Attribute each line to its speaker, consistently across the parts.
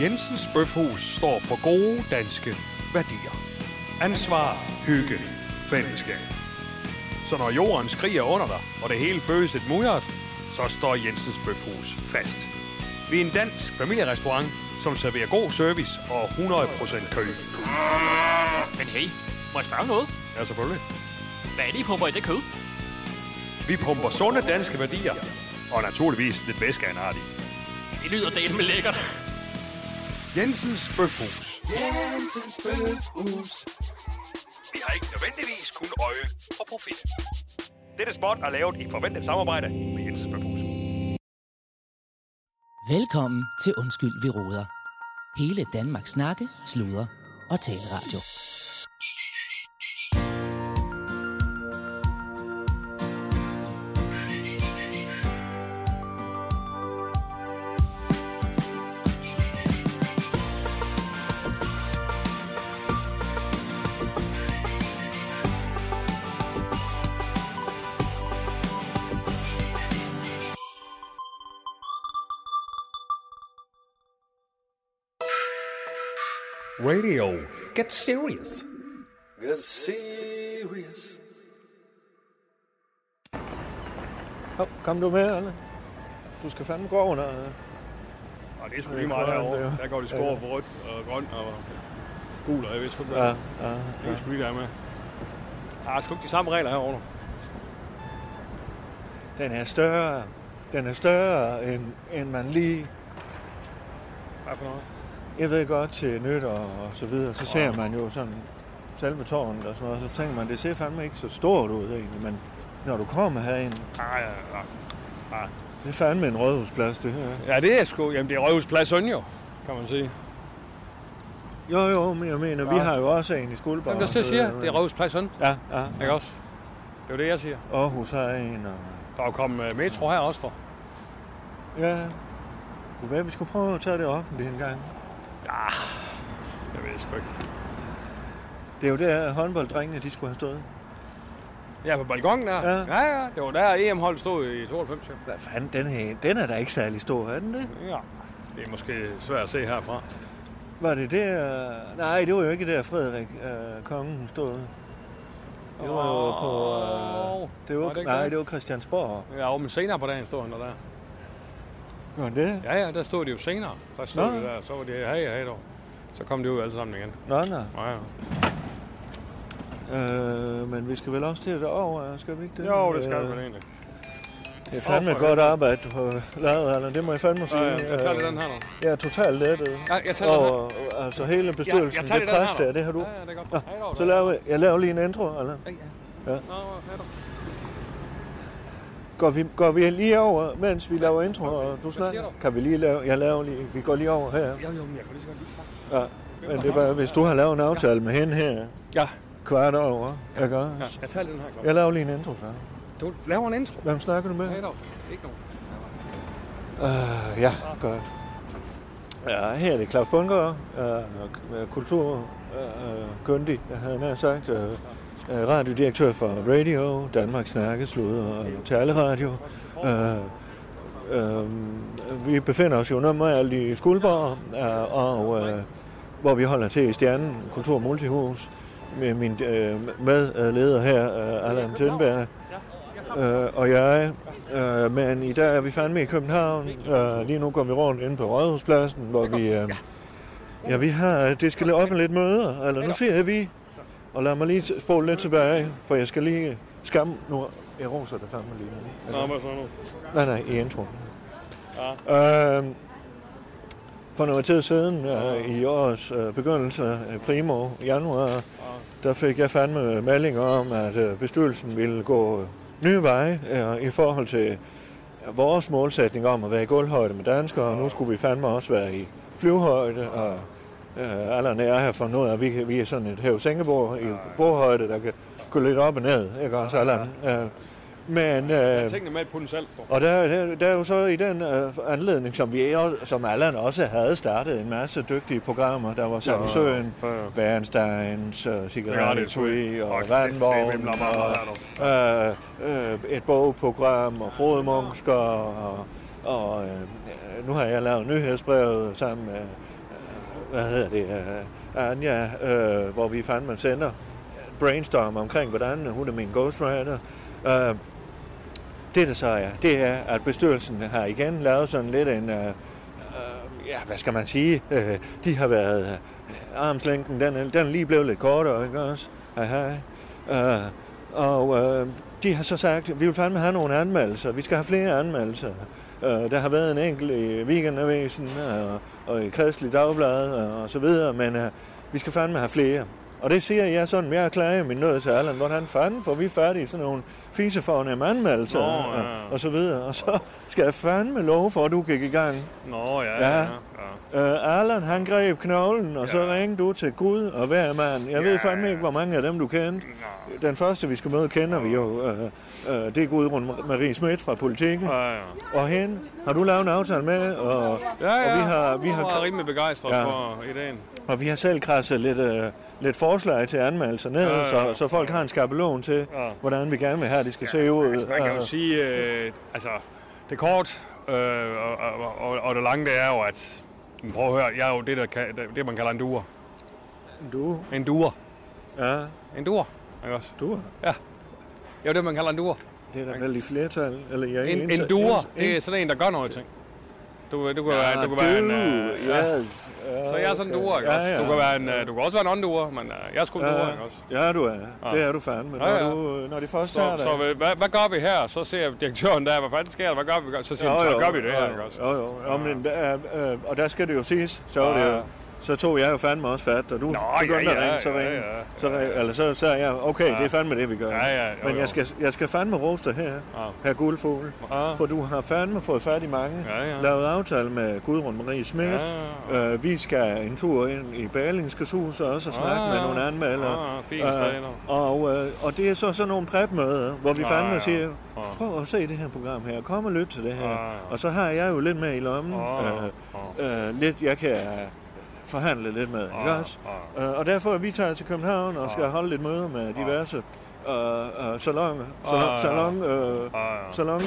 Speaker 1: Jensens Bøfhus står for gode danske værdier. Ansvar, hygge, fællesskab. Så når jorden skriger under dig, og det hele føles lidt mudret, så står Jensens Bøfhus fast. Vi er en dansk familierestaurant, som serverer god service og 100% kø.
Speaker 2: Men hey, må jeg spørge om noget?
Speaker 1: Ja, selvfølgelig.
Speaker 2: Hvad er det, I pumper i det kød?
Speaker 1: Vi pumper sunde danske værdier, og naturligvis lidt væske af en art i.
Speaker 2: Det lyder delt med lækkert.
Speaker 1: Jensens Bøfhus.
Speaker 3: Jensens Bøfhus.
Speaker 1: Vi har ikke nødvendigvis kun øje for profit. Dette spot er lavet i forventet samarbejde med Jensens Bøfhus.
Speaker 4: Velkommen til Undskyld, vi råder. Hele Danmarks snakke, sludre og taleradio.
Speaker 1: Radio. Get serious.
Speaker 3: Get serious.
Speaker 5: Kom, kom du med, Arne. Du skal fandme gå under. øh.
Speaker 6: Og det er sgu lige meget herovre. Der går de skår for rødt og grønt og gul, og jeg ved sgu ikke, hvad det
Speaker 5: ja.
Speaker 6: er. Det er sgu lige der med. Der er sgu ikke de samme regler herovre.
Speaker 5: Den er større. Den er større, end, end man lige...
Speaker 6: Hvad for noget?
Speaker 5: Jeg ved godt, til nytår og så videre, så ser man jo sådan selve tårnet og sådan noget, så tænker man, det ser fandme ikke så stort ud egentlig, men når du kommer herind,
Speaker 6: Nej, Ah, ja, ja.
Speaker 5: det er fandme en rådhusplads, det her.
Speaker 6: ja, det er sgu. Jamen, det er Rødhusplads Øn jo, kan man sige.
Speaker 5: Jo, jo, men jeg mener, vi
Speaker 6: Ja.
Speaker 5: har jo også en i Skuldborg.
Speaker 6: Jamen, der
Speaker 5: så-
Speaker 6: selv siger, det er Rødhusplads Øn.
Speaker 5: Ja, ja.
Speaker 6: Ikke også? Det er jo det, jeg siger.
Speaker 5: Aarhus har en, og...
Speaker 6: Der er jo kommet øh, metro her også for.
Speaker 5: Ja, det kunne være, vi skulle prøve at tage det offentligt en gang.
Speaker 6: Jeg ved sgu ikke.
Speaker 5: Det er jo der, håndbolddrengene, de skulle have stået.
Speaker 6: Ja, på balkongen der.
Speaker 5: Ja.
Speaker 6: ja, ja. Det var der, EM-holdet stod i 92. Ja.
Speaker 5: Hvad fanden, den, her, den er da ikke særlig stor, er den det?
Speaker 6: ja. Det er måske svært at se herfra.
Speaker 5: Var det der... Nej, det var jo ikke der, Frederik øh, kongen stod. Det var jo på... Øh, det var,
Speaker 6: Var det ikke
Speaker 5: nej,
Speaker 6: det?
Speaker 5: det var Christiansborg.
Speaker 6: Ja, men senere på dagen stod han der der.
Speaker 5: Var det det?
Speaker 6: Ja, ja, der stod de jo senere. Der stod
Speaker 5: Nå.
Speaker 6: de der, så var de hey, hey, dog. Så kom de ud alle sammen igen.
Speaker 5: Nå, nå.
Speaker 6: Ja, ja.
Speaker 5: Øh, men vi skal vel også til det over, skal vi ikke det?
Speaker 6: Jo, det skal
Speaker 5: Øh,
Speaker 6: man egentlig.
Speaker 5: Det er fandme
Speaker 6: Åh,
Speaker 5: et
Speaker 6: for
Speaker 5: godt arbejde, du har lavet, Allan. Det må jeg fandme sige.
Speaker 6: Ja, ja, jeg tager lige den her nu.
Speaker 5: Jeg er totalt lettet.
Speaker 6: Ja, jeg tager den her.
Speaker 5: Og, altså hele
Speaker 6: Ja, jeg
Speaker 5: bestyrelsen,
Speaker 6: tager
Speaker 5: det
Speaker 6: lige den her
Speaker 5: pres
Speaker 6: nu.
Speaker 5: der, det har du.
Speaker 6: Ja, ja, det er godt. Hej
Speaker 5: Nå,
Speaker 6: dog,
Speaker 5: så
Speaker 6: der.
Speaker 5: laver jeg, jeg laver lige en intro, Allan.
Speaker 6: Nå, hej dog.
Speaker 5: Går vi, går vi lige over, mens vi laver intro, og du
Speaker 6: siger
Speaker 5: snakker?
Speaker 6: du?
Speaker 5: Kan vi lige lave... Jeg laver lige... Vi går lige over her.
Speaker 6: Jo, jo, men jeg kan lige så godt lige snakke.
Speaker 5: Ja. Men det er bare, hvis du har lavet en aftale med hende her,
Speaker 6: Ja,
Speaker 5: kvart over, ikke også?
Speaker 6: ja, jeg tager lige den her. Klokken.
Speaker 5: Jeg laver lige en intro før.
Speaker 6: Du laver en intro.
Speaker 5: Hvem snakker du med?
Speaker 6: Hej dog. Ikke nogen.
Speaker 5: Uh, ja, godt. Ja, her er det Claus Bundgaard, uh, kulturkyndig, uh, havde jeg nær sagt. Uh, uh, radiodirektør for Radio, Danmarks Snakkeslud og Taleradio. Uh, uh, vi befinder os jo normalt i Skuldborg, uh, og uh, hvor vi holder til i Stjernen, Kultur Multihus, med min uh, medleder her, uh, Allan Tønberg. Øh, og jeg. Øh, men i dag er vi fandme i København. Øh, lige nu går vi rundt inde på Rådhuspladsen, hvor vi... Øh, ja, vi har... øh, Det skal lige op med lidt møder. Eller nu ser jeg vi. Og lad mig lige spole lidt tilbage, for jeg skal lige skamme... Nu jeg roser det fandme lige nu.
Speaker 6: Nå, hvad så nu?
Speaker 5: Nej, nej, i introen. Ja. Øhm, for noget tid siden, øh, i årets øh, begyndelse, øh, primo januar, der fik jeg fandme meldinger om, at øh, bestyrelsen ville gå nye veje øh, i forhold til vores målsætning om at være i gulvhøjde med danskere, og nu skulle vi fandme også være i flyvehøjde, og øh, Allan er her for noget, at vi, kan- vi er sådan et hævsængebord i bordhøjde, der kan gå lidt op og ned, ikke også, Allan? Øh, men... Øh,
Speaker 6: Tingene med et pund salt på.
Speaker 5: og der, der, der er jo så i den øh, anledning, som vi er, som Allan også havde startet en masse dygtige programmer. Der var Samsøen, ja, ja. Bernsteins, øh, Cigaretti Tui og Vandvogn, og øh, øh, et bogprogram og Frodemunsker. Og, og øh, nu har jeg lavet nyhedsbrevet sammen med hvad hedder det, øh, Anja, øh, hvor vi fandt, man sender brainstorm omkring, hvordan hun er min ghostwriter. Øh, det, der så er, det er, at bestyrelsen har igen lavet sådan lidt en, øh, øh, ja, hvad skal man sige, øh, de har været, øh, armslængden, den, er- den er lige blevet lidt kortere, ikke også? Hej, hej. Øh, og øh, de har så sagt, vi vil fandme have nogle anmeldelser, vi skal have flere anmeldelser. Øh, der har været en enkelt i Weekendavisen og, og i Kristelig Dagblad og, og så videre, men øh, vi skal fandme have flere. Og det siger jeg sådan, jeg klager min nød til Allan, hvordan fanden får vi fat i sådan nogle fisefornemme anmeldelser
Speaker 6: Nå,
Speaker 5: og,
Speaker 6: ja.
Speaker 5: og så videre. Og så skal jeg fandme love for, at du gik i gang.
Speaker 6: Nå, ja,
Speaker 5: Ja.
Speaker 6: ja. ja. ja.
Speaker 5: Øh, Allan, han greb knoglen, og ja. så
Speaker 6: Ja.
Speaker 5: ringte du til Gud og hver mand. Jeg ja. ved
Speaker 6: Ja.
Speaker 5: fandme ikke, hvor mange af dem du kendte.
Speaker 6: Nå.
Speaker 5: Den første, vi skal møde, kender vi jo. Øh, øh, det er Gudrun Marie Schmidt fra Politiken.
Speaker 6: Ja, ja.
Speaker 5: Og hende har du lavet en aftale med, og,
Speaker 6: ja, ja.
Speaker 5: og vi har, vi
Speaker 6: Jeg var
Speaker 5: har,
Speaker 6: rimelig begejstret
Speaker 5: Ja.
Speaker 6: ja. for ideen.
Speaker 5: og vi har selv krasset lidt, øh, lidt forslag til anmeldelser ned,
Speaker 6: Ja,
Speaker 5: ja, ja,
Speaker 6: ja,
Speaker 5: Så,
Speaker 6: ja.
Speaker 5: så folk har en skabelon til, ja.
Speaker 6: Ja.
Speaker 5: hvordan vi gerne vil have, at de skal ja, se ud.
Speaker 6: Altså, man kan jo
Speaker 5: Og-
Speaker 6: sige, øh, altså, det kort øh, og, og, og, og det lange, det er jo, at men prøv at høre, jeg er jo det, der kan, det- det man kalder en duer.
Speaker 5: Du,
Speaker 6: En duer.
Speaker 5: ja,
Speaker 6: En duer, ikke også?
Speaker 5: du.
Speaker 6: Det er jo det, man kalder en duer.
Speaker 5: Det er da vel i flertal. Eller jeg er
Speaker 6: En,
Speaker 5: ensa-
Speaker 6: en duer,
Speaker 5: ens-
Speaker 6: det er sådan en, der gør noget ting. Du, du kan,
Speaker 5: Ja,
Speaker 6: være, du kan være en...
Speaker 5: du,
Speaker 6: Øh, ja.
Speaker 5: yes. ja.
Speaker 6: Så jeg er sådan en duer, ikke
Speaker 5: Ja,
Speaker 6: også?
Speaker 5: ja.
Speaker 6: Du kan, være en, øh, du kan også være en ånduer, men øh, jeg er sgu en duer, ikke også? Ah.
Speaker 5: Ja, ja, du er. Det er du fandme. Når,
Speaker 6: Ja, ja.
Speaker 5: Du, når de først er
Speaker 6: Så,
Speaker 5: der.
Speaker 6: så hvad, hvad- hvad gør vi her? Så ser direktøren der, hvad fanden sker der? Hvad gør vi? Så siger han, så gør vi det her, ikke også?
Speaker 5: Jo, jo. jo. Men, øh, øh, og der skal det jo siges, så var
Speaker 6: Ja,
Speaker 5: det jo,
Speaker 6: ja.
Speaker 5: så tog jeg jo fandme også fat, og du
Speaker 6: Nå,
Speaker 5: begyndte
Speaker 6: ja,
Speaker 5: at
Speaker 6: ja,
Speaker 5: ringe, så
Speaker 6: ja,
Speaker 5: ringe,
Speaker 6: ja, ja.
Speaker 5: så ringe, eller så, så er jeg, okay, det er fandme det, vi gør.
Speaker 6: Ja, ja, jo,
Speaker 5: Men
Speaker 6: jo.
Speaker 5: jeg skal, jeg skal fandme roste her, her guldfugl,
Speaker 6: Ja.
Speaker 5: for du har fandme fået fat i mange,
Speaker 6: Ja, ja.
Speaker 5: lavet aftale med Gudrun Marie Schmidt,
Speaker 6: Ah.
Speaker 5: Øh, vi skal en tur ind i Berlingskes hus og også og snakke
Speaker 6: Ah,
Speaker 5: med nogle anmeldere. Øh,
Speaker 6: ah, fint sted, nå.
Speaker 5: og, øh, og det er så sådan nogle prepmøder, hvor vi
Speaker 6: Ah,
Speaker 5: fandme
Speaker 6: ja.
Speaker 5: siger,
Speaker 6: Ah.
Speaker 5: prøv at se det her program her, kom og lyt til det her.
Speaker 6: Ah, ja.
Speaker 5: Og så har jeg jo lidt med i lommen,
Speaker 6: Ah, Ah,
Speaker 5: øh, øh, lidt jeg kan øh, forhandle lidt med, ikke også? Øh, og derfor er vi taget til København og skal holde lidt møder med diverse øh, øh, salon, salon,
Speaker 6: Ah, ja.
Speaker 5: salon, øh,
Speaker 6: Ah, ja. Ah,
Speaker 5: salon øh,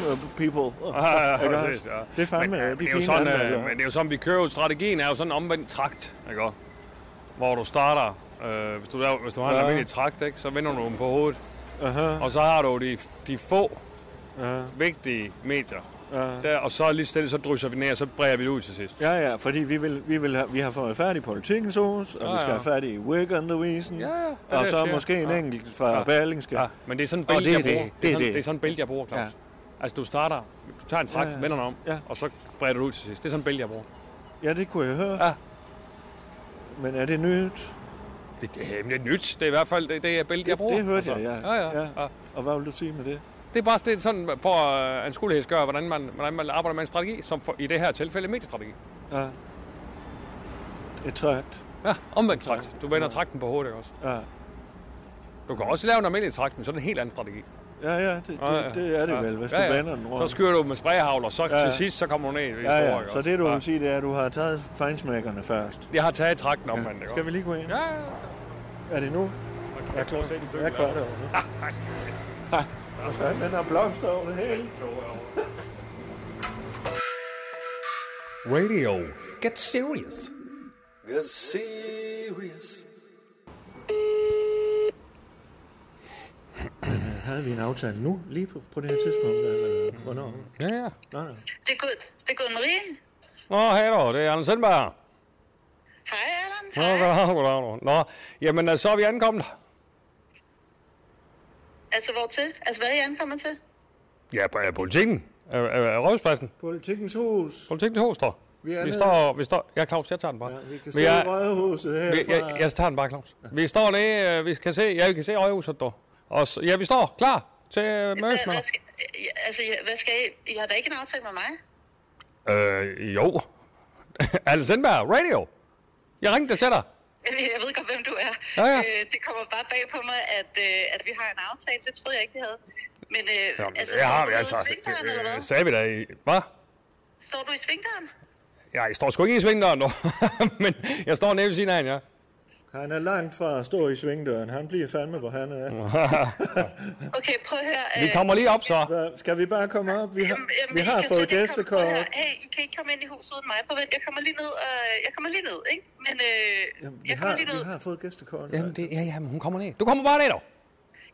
Speaker 5: people.
Speaker 6: Ja,
Speaker 5: Ikke
Speaker 6: ja,
Speaker 5: også?
Speaker 6: præcis, ja.
Speaker 5: Det er fandme
Speaker 6: men,
Speaker 5: øh,
Speaker 6: øh, det
Speaker 5: de
Speaker 6: er jo
Speaker 5: fine
Speaker 6: sådan,
Speaker 5: anmeldere.
Speaker 6: øh, men det er jo sådan, vi kører jo- strategien er jo sådan en omvendt trakt, ikke? også? Hvor du starter, øh, hvis, du, laver- hvis du har en
Speaker 5: Ja.
Speaker 6: almindelig trakt, ikke? så vender du dem på hovedet.
Speaker 5: Aha,
Speaker 6: Og så har du de, de få
Speaker 5: ja.
Speaker 6: vigtige medier.
Speaker 5: Ja.
Speaker 6: Der, og så lige stille, så drysser vi ned, og så breder vi det ud til sidst.
Speaker 5: Ja, ja, fordi vi, vil, vi, vil have, vi har fået fat i Politikens Hus, og ja,
Speaker 6: Ja,
Speaker 5: vi skal
Speaker 6: ja.
Speaker 5: have fat i Weekendavisen,
Speaker 6: Ja, ja, det er
Speaker 5: og
Speaker 6: det,
Speaker 5: så
Speaker 6: jeg siger.
Speaker 5: måske en
Speaker 6: Ja.
Speaker 5: enkelt fra ja.
Speaker 6: Ja.
Speaker 5: Berlingske.
Speaker 6: Ja, men det er sådan en
Speaker 5: Og
Speaker 6: bælte,
Speaker 5: det er
Speaker 6: jeg
Speaker 5: det,
Speaker 6: bruger.
Speaker 5: det er
Speaker 6: Det er, sådan,
Speaker 5: det.
Speaker 6: det er sådan en bælte, jeg bruger, Claus.
Speaker 5: Ja.
Speaker 6: Altså, du starter, du tager en trakt, ja,
Speaker 5: Ja, ja.
Speaker 6: ja. vender den om,
Speaker 5: Ja.
Speaker 6: ja. og så breder du det ud til sidst. Det er sådan en bælte, jeg bruger.
Speaker 5: Ja, det kunne jeg høre.
Speaker 6: Ja.
Speaker 5: Men er det nyt?
Speaker 6: Det, det, jamen, det er nyt. Det er i hvert fald det, det er bælte, jeg bruger. Altså.
Speaker 5: det hørte jeg, ja.
Speaker 6: Ja, ja.
Speaker 5: Ja.
Speaker 6: ja. ja.
Speaker 5: Og hvad vil du sige med det?
Speaker 6: Det er bare sådan, sådan for at anskuelighedsgøre, hvordan man, hvordan man arbejder med en strategi, som for, i det her tilfælde mediestrategi.
Speaker 5: Ja. Et trakt.
Speaker 6: Ja, omvendt trakt. Du vender trakten på hovedet, ikke også?
Speaker 5: Ja.
Speaker 6: Du kan også lave en almindelig trakt, men så er det en helt anden strategi.
Speaker 5: Ja, ja, det, det, det er det vel, hvis du vender den rundt.
Speaker 6: Så skyder du med sprayhavl, og så
Speaker 5: Ja, ja.
Speaker 6: ja. til sidst, så kommer du ned i det
Speaker 5: ja,
Speaker 6: store,
Speaker 5: ja.
Speaker 6: ikke
Speaker 5: Så
Speaker 6: også?
Speaker 5: det, du vil sige, det er, at du har taget fejnsmækkerne først.
Speaker 6: Jeg har taget trakten omvendt, ikke
Speaker 5: Skal
Speaker 6: også?
Speaker 5: vi lige gå ind?
Speaker 6: Ja, ja, ja.
Speaker 5: Er det nu?
Speaker 6: Jeg kan se den
Speaker 5: Jeg er kvart over nu. Hvad fanden, den har blomster over det hele.
Speaker 1: Radio. Get serious.
Speaker 3: Get serious.
Speaker 5: Havde vi en aftale nu, lige på, på det her tidspunkt, eller hvornår?
Speaker 6: Ja, ja.
Speaker 5: Nej, nej.
Speaker 7: Det er Gud, det er Gud Marie.
Speaker 6: Nå, hej då, det er Anders Sindberg.
Speaker 7: Hej, Allan.
Speaker 6: Nå, goddag, goddag, goddag. Nå, jamen øh, så er vi ankommet.
Speaker 7: Altså, hvor til? Altså, hvad er I ankommet til?
Speaker 6: Ja, på øh, politikken. Øh, øh, Rådhuspladsen.
Speaker 5: Politikens hus.
Speaker 6: Politikken til Hostrup.
Speaker 5: Vi
Speaker 6: Vi,
Speaker 5: er
Speaker 6: vi
Speaker 5: nede.
Speaker 6: står, vi står, ja Claus, jeg tager den bare.
Speaker 5: Ja, vi kan
Speaker 6: Men
Speaker 5: se
Speaker 6: jeg,
Speaker 5: rådhuset
Speaker 6: vi,
Speaker 5: herfra.
Speaker 6: jeg, jeg tager den bare, Claus. Vi står nede, øh, vi kan se, ja, vi kan se øjehuset der. Og, s- ja, vi står klar til øh, mødes med
Speaker 7: hvad skal, ja, altså, ja, hvad skal I? I har da ikke en aftale med mig.
Speaker 6: dig. Øh, jo. Anders Sindberg, radio. Jeg ringte dig til dig.
Speaker 7: Jeg jeg ved godt, hvem du er.
Speaker 6: Ja, ja.
Speaker 7: Øh, det kommer bare bag på mig, at, øh, at vi har en aftale. Det troede jeg ikke, vi havde. Men øh,
Speaker 6: Jamen,
Speaker 7: altså,
Speaker 6: jeg har
Speaker 7: står du
Speaker 6: vi altså.
Speaker 7: i svingdøren, eller
Speaker 6: øh,
Speaker 7: hvad?
Speaker 6: Sagde vi da i, hvad?
Speaker 7: Står du i svingdøren?
Speaker 6: Ja, jeg står sgu ikke i svingdøren nu. Men jeg står nede ved siden af hende, ja.
Speaker 5: Han er langt fra at stå i svingdøren. Han bliver fandme, hvor han er.
Speaker 7: Okay, prøv at høre.
Speaker 6: Vi
Speaker 7: øh,
Speaker 6: kommer lige op, så.
Speaker 5: Hvad, skal vi bare komme op? Vi har,
Speaker 7: Jamen, jamen,
Speaker 5: vi
Speaker 7: I
Speaker 5: har
Speaker 7: kan
Speaker 5: fået
Speaker 7: slet ikke komme- prøv
Speaker 5: gæstekort.
Speaker 7: at høre, Hey, I kan ikke komme ind i huset uden mig. Prøv at vent, jeg kommer lige ned, og jeg kommer lige ned, ikke? Men øh,
Speaker 5: Jamen, vi
Speaker 7: jeg kommer
Speaker 5: har,
Speaker 7: lige ned.
Speaker 5: vi har fået gæstekort.
Speaker 6: Jamen, det, ja, jamen, hun kommer ned. Du kommer bare ned, dog.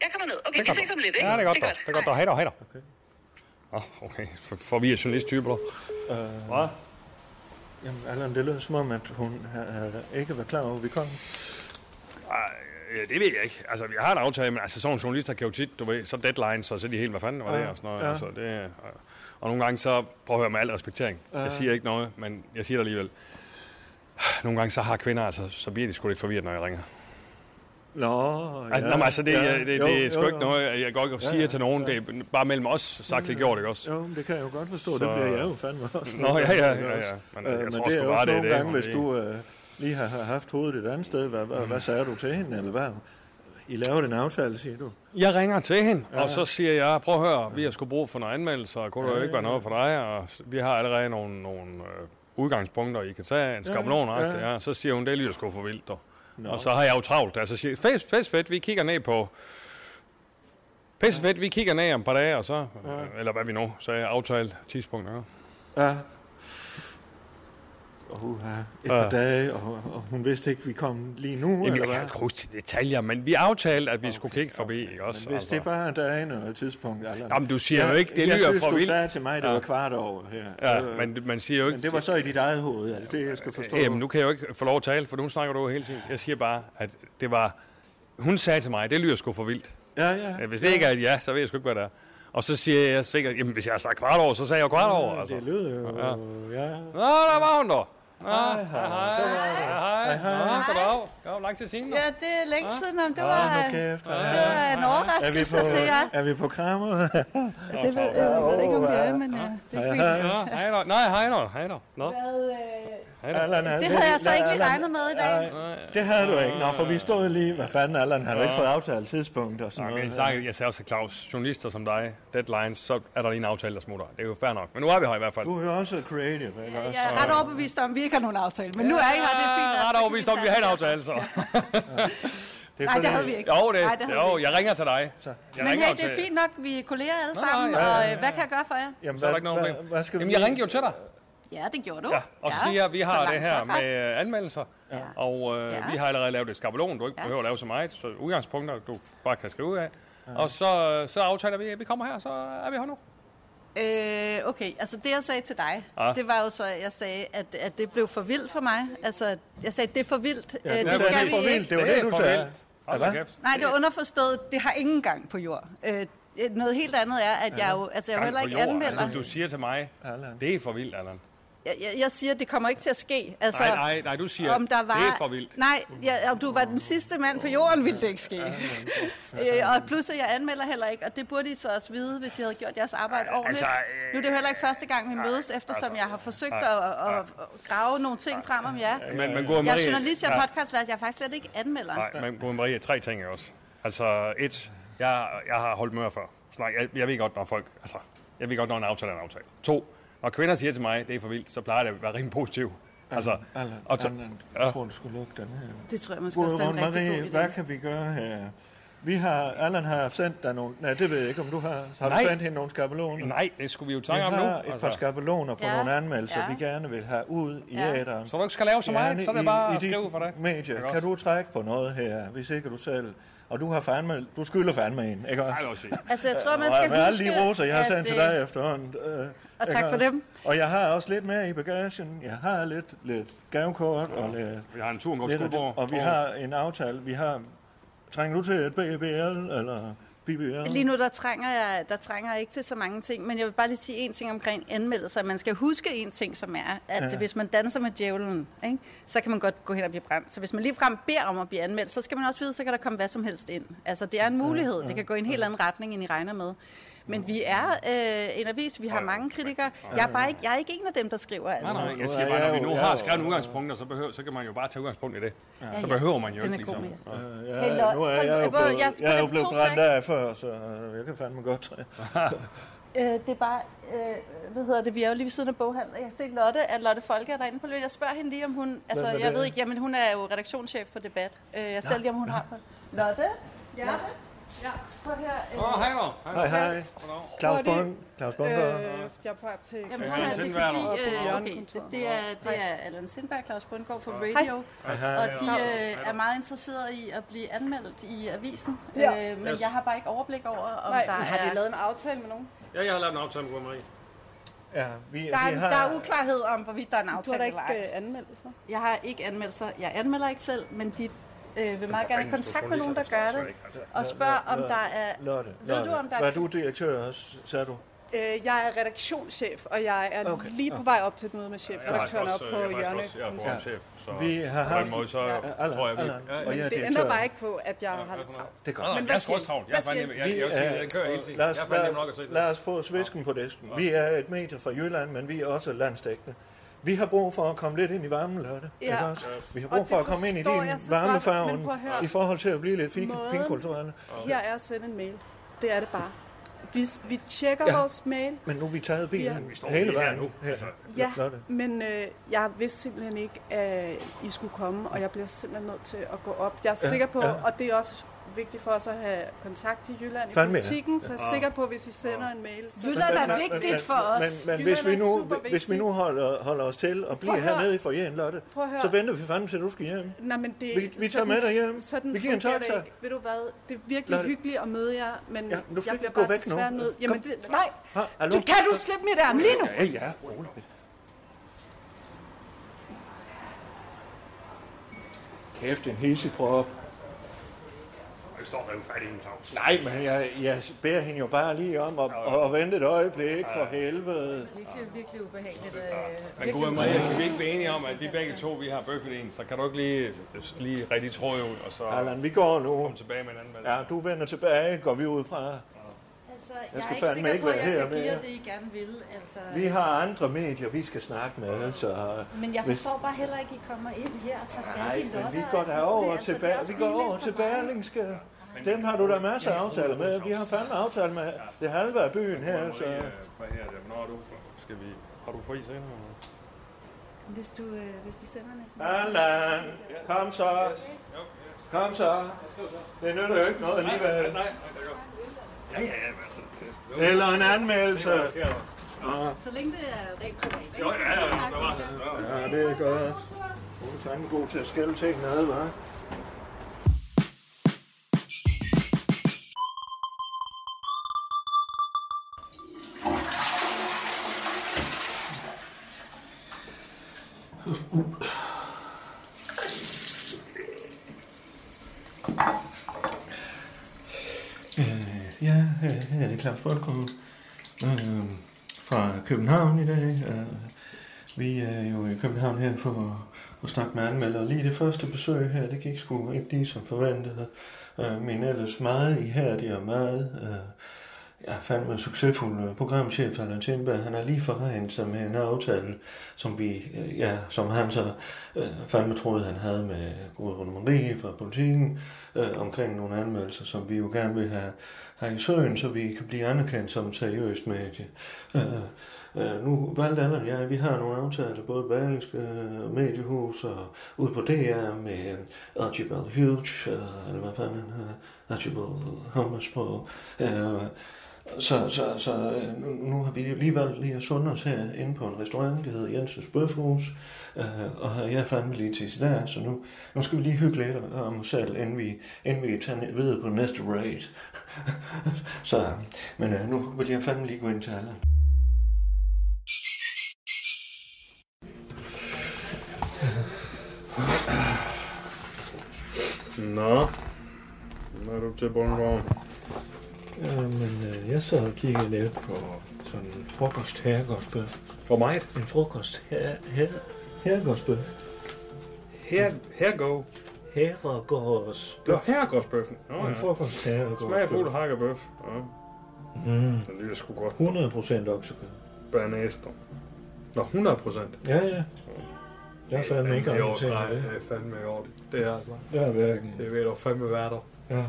Speaker 7: Jeg kommer ned. Okay, vi ses om lidt, ikke?
Speaker 6: Ja, det er godt, dog. Det er godt, dog.
Speaker 7: Hej.
Speaker 6: Hej, dog, hej, dog. Okay. Oh, okay, for, for vi er journalisttyper, dog. Hvad?
Speaker 5: Jamen, Allan, det lød som om, at hun øh, ikke var klar over, at vi kom.
Speaker 6: Ja, det ved jeg ikke. Altså, vi har en aftale, men altså, sådan nogle journalister kan jo tit, du ved, så deadlines, og så er de helt, hvad fanden var det, og sådan noget.
Speaker 5: ja.
Speaker 6: Ja. Altså, det, er- og, og nogle gange så, prøv at høre med al respektering, jeg siger ikke noget, men jeg siger det alligevel. Nogle gange så har kvinder, altså, så bliver de sgu lidt forvirret, når jeg ringer.
Speaker 5: Nå, ja.
Speaker 6: Altså, ja, nå, men altså, det, ja, det, det,
Speaker 5: Jo,
Speaker 6: det er sgu
Speaker 5: jo,
Speaker 6: ikke
Speaker 5: jo.
Speaker 6: noget, jeg går ikke og siger ja, til nogen, ja. det er bare mellem os, sagt det gjort, ikke også?
Speaker 5: Jo, men det kan jeg jo godt forstå. Så...
Speaker 6: Så-
Speaker 5: Det bliver jeg jo fandme også.
Speaker 6: Nå, ja, ja, ja, ja. Men
Speaker 5: Men,
Speaker 6: jeg
Speaker 5: øh, men
Speaker 6: tror
Speaker 5: det er
Speaker 6: sgu
Speaker 5: jo
Speaker 6: bare,
Speaker 5: også
Speaker 6: det er
Speaker 5: nogle
Speaker 6: det,
Speaker 5: gange,
Speaker 6: hun
Speaker 5: hvis du øh, lige har, har haft hovedet et andet sted. Hvad,
Speaker 6: Mm.
Speaker 5: hvad, hvad sagde du til hende, eller hvad? I laver den aftale, siger du.
Speaker 6: Jeg ringer til hende, ja. og så siger jeg, prøv at høre, vi har sgu brug for nogle anmeldelser, og kunne ja, det jo ikke være noget for dig, og vi har allerede nogle, nogle øh, udgangspunkter, I kan tage en skabelon, ja,
Speaker 5: ja.
Speaker 6: ja. ja. så siger hun, det lyder sgu for vildt, dog. Og så har jeg jo travlt, altså siger, fest, fest, fedt, vi kigger ned på, pisse fedt, vi kigger ned om et par dage, og så, ja. eller hvad vi nu, så er jeg aftalt tidspunkt, ja.
Speaker 5: Ja. Uh, et par dage, og, og hun vidste ikke, vi kom lige nu, Jamen,
Speaker 6: Jamen,
Speaker 5: eller
Speaker 6: jeg
Speaker 5: hvad?
Speaker 6: kan ikke huske de detaljer, men vi aftalte, at vi okay, skulle kigge forbi, ikke også?
Speaker 5: Hvis det bare er dagen og et tidspunkt, Allan.
Speaker 6: altså. Jamen, du siger jo ikke, det
Speaker 5: jeg
Speaker 6: lyder
Speaker 5: synes,
Speaker 6: for
Speaker 5: du
Speaker 6: vildt.
Speaker 5: sagde til mig, at det
Speaker 6: Ja.
Speaker 5: var kvart over her.
Speaker 6: Ja,
Speaker 5: Øh,
Speaker 6: men man siger jo ikke...
Speaker 5: men det var så i dit eget hoved, er det det, jeg skal forstå?
Speaker 6: Jamen, nu kan jeg jo ikke få lov at tale, for nu snakker du jo hele tiden. Jeg siger bare, at det var... Hun sagde til mig, det lyder sgu for vildt.
Speaker 5: Ja, ja.
Speaker 6: Hvis det ikke er et ja, så ved jeg sgu ikke, hvad det er. Og så siger jeg sikkert, jamen hvis jeg har sagt kvart over, så sagde jeg jo kvart over. Altså.
Speaker 5: Det lød jo... Ja. ja.
Speaker 6: Nå, der var hun der. Nå, hej, hej, hej, hej, hej, hej, goddag. Goddag, lang tid siden.
Speaker 8: Ja, det er længe siden. Om det, var,
Speaker 5: Åh, nu kæft.
Speaker 8: det var en
Speaker 5: Er vi
Speaker 8: overraskelse,
Speaker 5: på,
Speaker 8: siger jeg.
Speaker 5: er vi på krammer?
Speaker 8: Det ved jeg ved ikke, om det er, men øh, det er fint.
Speaker 6: Nå, hej der. Nej, hej der, hej der. Nå,
Speaker 8: øh,
Speaker 5: Allan, han-
Speaker 8: Det havde jeg så ikke
Speaker 5: Allan-
Speaker 8: lige regnet med i dag.
Speaker 5: Nej, Det havde du ikke. Nå, for vi stod lige... Hvad fanden, Allan, han har ikke fået aftalt tidspunkt og sådan
Speaker 6: okay, jeg,
Speaker 5: noget.
Speaker 6: snakker, jeg sagde også til Claus, journalister som dig, deadlines, så er der lige en aftale, der smutter. Det er jo fair nok. Men nu er vi her i hvert fald.
Speaker 5: Du er jo også creative, ikke også?
Speaker 8: Jeg er ret overbevist om, at vi ikke har nogen aftale, men nu er I her, det er fint.
Speaker 6: Jeg er
Speaker 8: nok, så
Speaker 6: ret
Speaker 8: kan
Speaker 6: overbevist om, at vi
Speaker 8: tage
Speaker 6: har en
Speaker 8: den.
Speaker 6: aftale, så.
Speaker 5: Det er
Speaker 8: Nej, det
Speaker 5: fordi-
Speaker 8: havde vi ikke.
Speaker 6: Jo, det,
Speaker 8: Nej, det havde
Speaker 6: jo
Speaker 8: vi ikke.
Speaker 6: jeg ringer til dig. Jeg
Speaker 8: Men
Speaker 6: ringer
Speaker 8: hey,
Speaker 6: jo
Speaker 8: det er
Speaker 6: til-
Speaker 8: fint nok, vi er kolleger alle sammen,
Speaker 6: nej,
Speaker 8: og øh, hvad kan jeg gøre for jer?
Speaker 5: Jamen,
Speaker 6: Så er der ikke noget
Speaker 5: hvad-
Speaker 6: problem.
Speaker 5: Hvad skal
Speaker 6: Jamen,
Speaker 5: vi...
Speaker 6: jeg ringer jo til dig
Speaker 8: Ja, det gjorde du.
Speaker 6: ja, og
Speaker 8: Ja,
Speaker 6: siger, at vi
Speaker 8: så
Speaker 6: har
Speaker 8: langt,
Speaker 6: det her
Speaker 8: så godt.
Speaker 6: med øh, anmeldelser, ja. og øh,
Speaker 8: Ja.
Speaker 6: vi har allerede lavet et skabelon, du ikke
Speaker 8: Ja.
Speaker 6: behøver at lave så meget, så udgangspunkter, du bare kan skrive ud af. Og så, øh, så aftaler vi, at vi kommer her, så er vi her nu.
Speaker 8: Øh, okay, altså det jeg sagde til dig,
Speaker 6: Ja.
Speaker 8: ja. det var jo så, at jeg sagde, at, at det blev for vildt for mig. Altså, jeg sagde, at det er for vildt. Ja,
Speaker 5: du
Speaker 8: det,
Speaker 5: sagde,
Speaker 8: det skal
Speaker 5: det er for
Speaker 8: vi
Speaker 5: vildt.
Speaker 8: ikke.
Speaker 5: Det var det,
Speaker 6: er
Speaker 5: du
Speaker 6: for
Speaker 5: sagde.
Speaker 6: vildt. Hold da
Speaker 5: Ja, hvad?
Speaker 6: kæft.
Speaker 8: Nej, det er underforstået. Det har ingen gang på jord. Øh, noget helt andet er, at jeg jo, altså, jeg jo
Speaker 6: Gang
Speaker 8: heller
Speaker 6: på
Speaker 8: ikke
Speaker 6: jorden.
Speaker 8: anmelder.
Speaker 6: Altså, du siger til mig,
Speaker 5: Allan.
Speaker 6: det er for vildt, Allan.
Speaker 8: Jeg, jeg, jeg siger, at det kommer ikke til at ske. Altså,
Speaker 6: Nej, nej, nej, du siger,
Speaker 8: om der var...
Speaker 6: det er for vildt.
Speaker 8: Nej, ja, om du var den sidste mand på jorden, ville det ikke ske. Øh, og pludselig, jeg anmelder heller ikke, og det burde I så også vide, hvis I havde gjort jeres arbejde ordentligt.
Speaker 6: altså, øh,
Speaker 8: nu er det jo heller ikke første gang, vi mødes, eftersom jeg har forsøgt at, at, at grave nogle ting frem om jer.
Speaker 6: Men, men Gode Marie,
Speaker 8: Jeg er journalist, jeg er
Speaker 6: Ja.
Speaker 8: podcastvært, jeg er faktisk slet ikke anmelder.
Speaker 6: Nej, men Gode Marie, tre ting ikke også. Altså, et, jeg, jeg har holdt mør før. Så nej, jeg, jeg ved godt, når folk... Altså, jeg ved godt, når en aftale er en aftale. To, når kvinder siger til mig, det er for vildt, så plejer det at være rimelig positivt. Altså,
Speaker 5: Allan,
Speaker 6: og to,
Speaker 5: Allan,
Speaker 6: ja.
Speaker 5: jeg tror, du skulle lukke den her.
Speaker 8: Det tror jeg måske også er altså en
Speaker 5: Godmorgen,
Speaker 8: rigtig
Speaker 5: Marie.
Speaker 8: god idé.
Speaker 5: Hvad kan vi gøre her? Vi har, Allan har sendt dig nogle, nej, det ved jeg ikke, om du har, har
Speaker 6: Nej.
Speaker 5: du sendt hende nogle skabeloner?
Speaker 6: nej, det skulle vi jo
Speaker 5: Vi
Speaker 6: tænke om nu.
Speaker 5: har et par
Speaker 6: Altså,
Speaker 5: skabeloner på
Speaker 8: Ja,
Speaker 5: nogle anmeldelser,
Speaker 8: ja.
Speaker 5: vi gerne vil have ud i
Speaker 8: Ja.
Speaker 5: æderen.
Speaker 6: så du ikke skal lave så meget,
Speaker 5: Gerne
Speaker 6: så er det
Speaker 5: i-
Speaker 6: bare
Speaker 5: i
Speaker 6: at
Speaker 5: de
Speaker 6: skrive for dig. Ikke
Speaker 5: Medier.
Speaker 6: også?
Speaker 5: Kan du trække på noget her, hvis ikke du selv... Og du har fandme, du skylder fandme en, ikke også?
Speaker 6: Nej, det vil jeg sige.
Speaker 8: Altså, jeg tror, man
Speaker 5: Øh, Og
Speaker 8: skal
Speaker 5: med alle
Speaker 8: huske,
Speaker 5: de roser, jeg har
Speaker 8: at,
Speaker 5: sendt til
Speaker 8: øh,
Speaker 5: dig efterhånden. Øh,
Speaker 8: og
Speaker 5: ikke
Speaker 8: tak for
Speaker 5: også?
Speaker 8: dem.
Speaker 5: Og jeg har også lidt mere i bagagen. Jeg har lidt, lidt gavekort og lidt
Speaker 6: Vi har en tur om
Speaker 5: Lidt af det.
Speaker 6: Skuldborg.
Speaker 5: Og vi har en aftale. Vi har... Trænger du til et BBL eller BBL?
Speaker 8: Lige nu, der trænger, jeg, der trænger jeg ikke til så mange ting, men jeg vil bare lige sige en ting omkring anmeldelser. Man skal huske en ting, som er, at ja. hvis man danser med djævlen, ikke, så kan man godt gå hen og blive brændt. Så hvis man ligefrem beder om at blive anmeldt, så skal man også vide, så kan der komme hvad som helst ind. Altså, det er en mulighed. Det kan gå i en helt anden retning, end I regner med. Men vi er øh, en avis, vi har mange kritikere. Jeg er, bare ikke, jeg er ikke en af dem, der skriver.
Speaker 6: Nej,
Speaker 8: Altså.
Speaker 6: nej, jeg
Speaker 5: Nu
Speaker 6: siger
Speaker 5: er
Speaker 6: bare,
Speaker 5: jeg
Speaker 6: når vi
Speaker 5: jo-
Speaker 6: nu
Speaker 5: jeg er
Speaker 6: har
Speaker 5: jo-
Speaker 6: skrevet udgangspunkter, så, behøver, så kan man jo bare tage udgangspunkt i det. Så
Speaker 8: ja.
Speaker 6: behøver man jo
Speaker 8: Den
Speaker 6: ikke,
Speaker 8: er god
Speaker 6: ligesom.
Speaker 8: med.
Speaker 5: Øh, Ja,
Speaker 8: Hey, Lotte,
Speaker 5: nu er
Speaker 8: hold-
Speaker 5: jeg jo
Speaker 8: hvor-
Speaker 5: blevet,
Speaker 8: jeg-
Speaker 5: jeg er jo
Speaker 8: hold
Speaker 5: blevet
Speaker 8: to
Speaker 5: brændt
Speaker 8: sek.
Speaker 5: af før, så øh, jeg kan fandme godt træ.
Speaker 8: Øh, det er bare, øh, hvad hedder det, vi er jo lige ved siden af boghandler. Jeg har set Lotte, at Lotte Folke er derinde på løbet. Jeg spørger hende lige, om hun, altså
Speaker 5: hvad
Speaker 8: jeg
Speaker 5: det
Speaker 8: ved
Speaker 5: er.
Speaker 8: ikke, jamen hun er jo redaktionschef på Debat. Øh, jeg ser lige, om hun har på. Lotte? Ja. Lotte? Ja. Prøv her. Øh,
Speaker 6: hej Laura.
Speaker 5: Hej, hej. Claus
Speaker 8: Hurtigt.
Speaker 5: Bond. Claus Bunker.
Speaker 8: Øh,
Speaker 9: Øh, jeg er på vej til.
Speaker 8: Jamen,
Speaker 6: Ja,
Speaker 8: prøv at høre, det er
Speaker 6: Sindberg
Speaker 8: fordi,
Speaker 9: er der.
Speaker 8: øh, okay, det, det, er, det er Allan Sindberg og Claus Bundgaard fra
Speaker 9: Hej.
Speaker 8: Radio, og de øh, er meget interesserede i at blive anmeldt i avisen,
Speaker 9: Ja.
Speaker 8: øh, men jeg har bare ikke overblik over, om
Speaker 9: Nej,
Speaker 8: der
Speaker 9: har de
Speaker 8: er...
Speaker 9: lavet en aftale med nogen?
Speaker 6: Ja, jeg har lavet en optag med Marie.
Speaker 5: Ja, vi,
Speaker 8: Der
Speaker 5: vi
Speaker 8: er,
Speaker 5: har,
Speaker 8: der er uklarhed om, hvorvidt der er en
Speaker 9: Du har da
Speaker 8: aftale eller
Speaker 9: ikke
Speaker 8: ej.
Speaker 9: øh, anmeldt så?
Speaker 8: Jeg har ikke anmeldelser. Jeg anmelder ikke selv, men de øh, vil meget gerne i kontakt med nogen, der gør det, og
Speaker 5: Altså,
Speaker 8: spørge, om der er...
Speaker 5: Lotte,
Speaker 8: Ved
Speaker 5: Lotte.
Speaker 8: du, om der er-
Speaker 5: Var du direktør også, sagde du?
Speaker 9: Øh, jeg er redaktionschef, og jeg er
Speaker 5: Okay.
Speaker 9: okay. lige på vej op til et møde med chefredaktøren op
Speaker 5: øh,
Speaker 9: på Hjørne.
Speaker 6: Jeg er
Speaker 5: Ja.
Speaker 6: vores chef, så
Speaker 5: Vi har
Speaker 6: på den
Speaker 5: haft-
Speaker 6: måde, så
Speaker 5: Allan,
Speaker 6: tror jeg, vi...
Speaker 5: Allan, og jeg er
Speaker 9: Det
Speaker 5: direktør.
Speaker 9: ændrer bare ikke på, at jeg har lidt travlt.
Speaker 5: Det er
Speaker 6: Nej, nej,
Speaker 5: godt.
Speaker 9: Men
Speaker 6: jeg
Speaker 9: hvad
Speaker 6: er sgu
Speaker 9: siger
Speaker 6: også
Speaker 9: I?
Speaker 6: travlt. Jeg
Speaker 9: Hvad
Speaker 6: er fandme-
Speaker 9: siger I?
Speaker 6: jeg, jeg, jeg, jeg,
Speaker 5: er-
Speaker 6: jeg kører hele tiden.
Speaker 5: lad
Speaker 6: Jeg
Speaker 5: os-
Speaker 6: er fandme nok at
Speaker 5: lad,
Speaker 6: se
Speaker 5: os- lad os få svisken på disken. Vi er et medie fra Jylland, men vi er også landstækkende. Vi har brug for at komme lidt ind i varmen, Lotte.
Speaker 9: Ja.
Speaker 5: ikke også? Vi har
Speaker 9: Og
Speaker 5: brug for
Speaker 9: det
Speaker 5: at komme ind i
Speaker 9: forstår jeg
Speaker 5: din
Speaker 9: så godt,
Speaker 5: varmefarven
Speaker 9: men prøv at høre.
Speaker 5: i forhold til at blive lidt fin,
Speaker 9: Måden-
Speaker 5: finkulturelle.
Speaker 9: Her er at sende en mail. Det er det bare. Vi, vi tjekker
Speaker 5: Ja.
Speaker 9: ja. vores mail.
Speaker 5: Men nu er vi taget bilen
Speaker 9: Ja.
Speaker 5: ja. hele
Speaker 6: lige her
Speaker 5: vejen.
Speaker 6: nu,
Speaker 5: Her.
Speaker 6: altså.
Speaker 9: Ja,
Speaker 5: Lotte.
Speaker 9: men øh, jeg vidste simpelthen ikke, at I skulle komme, og jeg bliver simpelthen nødt til at gå op. Jeg er
Speaker 5: Ja,
Speaker 9: sikker på,
Speaker 5: ja.
Speaker 9: og det er også vigtigt for os at have kontakt til Jylland i
Speaker 5: Fandme, ja.
Speaker 9: politikken, så jeg er sikker på, hvis I sender en mail, så...
Speaker 8: Jylland er vigtigt for os.
Speaker 5: Men, men
Speaker 9: Jylland
Speaker 5: hvis, vi
Speaker 9: er
Speaker 5: nu,
Speaker 9: supervigtig.
Speaker 5: hvis vi nu holder, holder os til og bliver
Speaker 9: Prøv at høre.
Speaker 5: hernede i forjen, Lotte,
Speaker 9: Prøv at høre.
Speaker 5: så venter vi fandme til, du skal hjem.
Speaker 9: Nej, men det,
Speaker 5: Vi- vi tager med dig hjem.
Speaker 9: Sådan
Speaker 5: Vi giver en
Speaker 9: fungerer det
Speaker 5: taxa.
Speaker 9: ikke. Ved du hvad, det er virkelig
Speaker 5: Lotte.
Speaker 9: hyggeligt at møde jer, men
Speaker 5: Ja,
Speaker 9: ja,
Speaker 5: men du skal
Speaker 9: jeg
Speaker 5: ikke
Speaker 9: bliver
Speaker 5: gå
Speaker 9: bare
Speaker 5: væk nu.
Speaker 9: desværre nødt.
Speaker 5: Kom.
Speaker 9: Jamen, det, nej,
Speaker 5: Ha, hallo?
Speaker 9: du, kan du slippe mit arm lige nu?
Speaker 5: Ja, ja, roligt. Kæft, en hisseprop.
Speaker 6: Jeg står og river fat i en tavs.
Speaker 5: Nej, men jeg, jeg beder hende jo bare lige om at, at vente et øjeblik for helvede.
Speaker 10: virkelig, virkelig ubehageligt. Øh,
Speaker 6: Men gode Maria, kan vi ikke blive enige om, at vi begge to vi har bøffet en, så kan du ikke lige, lige rigtig tråde ud, og så
Speaker 5: Allan, vi går nu.
Speaker 6: komme tilbage med en anden valg?
Speaker 5: Ja, du vender tilbage, går vi ud fra.
Speaker 10: altså, jeg,
Speaker 5: skal
Speaker 10: er ikke
Speaker 5: fandme
Speaker 10: sikker
Speaker 5: ikke
Speaker 10: på, at
Speaker 5: være
Speaker 10: jeg
Speaker 5: her
Speaker 10: kan give
Speaker 5: mere.
Speaker 10: jer det, I gerne vil. Altså,
Speaker 5: Vi har andre medier, vi skal snakke med, så...
Speaker 10: men jeg
Speaker 5: hvis-
Speaker 10: forstår bare heller ikke, I kommer ind her og tager fat
Speaker 5: Nej,
Speaker 10: i Lotte.
Speaker 5: men vi
Speaker 10: og
Speaker 5: går
Speaker 10: alt
Speaker 5: da
Speaker 10: muligt.
Speaker 5: over
Speaker 10: Altså,
Speaker 5: til,
Speaker 10: det er
Speaker 5: Ber-
Speaker 10: også
Speaker 5: vi går
Speaker 10: pinligt
Speaker 5: over
Speaker 10: for
Speaker 5: til
Speaker 10: mig.
Speaker 5: Berlingske. Dem har du da masser af aftaler med. Vi har fandme aftaler med det halve af byen her, så...
Speaker 6: Marie, hvad her det? Hvornår er du? Skal vi... Har du fri senere?
Speaker 10: Hvis du, øh, hvis du sender en sms.
Speaker 5: Allan, kom så. Kom så. Det nytter jo ikke noget alligevel.
Speaker 6: Nej, det er godt. Ja, ja, ja, men altså.
Speaker 5: Eller en anmeldelse.
Speaker 10: Så længe det er rent privat. ikke?
Speaker 6: Jo,
Speaker 10: Så
Speaker 6: ja, ja,
Speaker 10: det er
Speaker 6: ja,
Speaker 10: nok-
Speaker 6: det var det. Ja, ja.
Speaker 5: Ja, det er godt. Hun er fandme god til at skælde tingene ad, hva'? Øh, ja, øh, her er det Claus Folkerum øh, fra København i dag. Øh, vi er jo i København her for at snakke med anmelder. Lige det første besøg her, det gik sgu ikke lige som forventet. Øh, min ellers meget ihærdige og meget... Øh, jeg er fandme succesfuld øh, programchef, Allan Tindberg. Han er lige forregnet sig med en aftale, som, vi, øh, ja, som han så øh, fandme troede, han havde med Gudrun Marie fra politikken øh, omkring nogle anmeldelser, som vi jo gerne vil have, have i søen, så vi kan blive anerkendt som seriøst medie. Øh, øh, nu valgte Allan og jeg, vi har nogle aftaler, både Berlingske øh, Mediehus og ude på DR med øh, Archibald Hughes, øh, eller hvad fanden han hedder, Archibald Hummers på. Øh, så, så, så øh, nu, nu har vi lige valgt lige at sunde os her inde på en restaurant, der hedder Jensens Bøfhus, øh, og jeg fandt lige til der, så nu, nu skal vi lige hygge lidt om os selv, inden vi, inden vi tager ned videre på næste raid. så, men øh, nu vil jeg fandme lige gå ind til Allan.
Speaker 6: Nå. Nu er du til Bornholm.
Speaker 5: men øh, jeg så og kiggede lidt på sådan en frokost herregårdsbøf.
Speaker 6: For mig?
Speaker 5: En frokost her, her, herregårdsbøf.
Speaker 6: Her, her go. Nå,
Speaker 5: Herregårdsbøf.
Speaker 6: herregårdsbøffen. Nå,
Speaker 5: En
Speaker 6: ja.
Speaker 5: frokost herregårdsbøf.
Speaker 6: Smagfuld hakkebøf. Ja,
Speaker 5: Mm,
Speaker 6: den lyder sgu godt.
Speaker 5: 100% oksekød.
Speaker 6: Banæster. Nå, 100 procent.
Speaker 5: Ja, ja. Jeg er fandme ikke
Speaker 6: Nej,
Speaker 5: orienteret. i
Speaker 6: det
Speaker 5: det.
Speaker 6: er fandme i orden. Det er altså.
Speaker 5: Jeg er hverken.
Speaker 6: Det ved du fandme værter.
Speaker 5: Ja.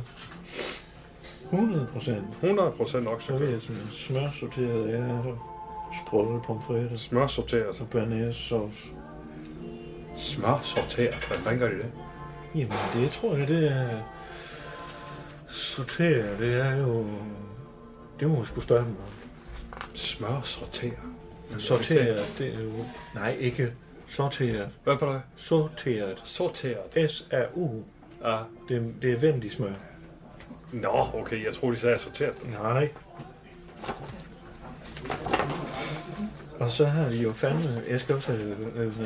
Speaker 5: 100 procent.
Speaker 6: 100 procent okse.
Speaker 5: Så vil jeg simpelthen smørsorteret ærter, sprøde pomfritter.
Speaker 6: Smørsorteret.
Speaker 5: Og bearnaisesauce.
Speaker 6: Smørsorteret. Hvordan gør de det?
Speaker 5: Jamen, det tror jeg, det er... Sortere, det er jo... Det må jeg skulle spørge dem om.
Speaker 6: Smørsorteret.
Speaker 5: Sortere, det er jo... Nej, ikke sorteret.
Speaker 6: Hvad for det?
Speaker 5: Sorteret.
Speaker 6: Sorteret.
Speaker 5: S-R-U.
Speaker 6: Ja.
Speaker 5: Det, det er vendt i smør.
Speaker 6: Nå, okay, jeg tror de sagde sorteret.
Speaker 5: Nej. Og så har de jo fandme, jeg skal også have, øh, øh,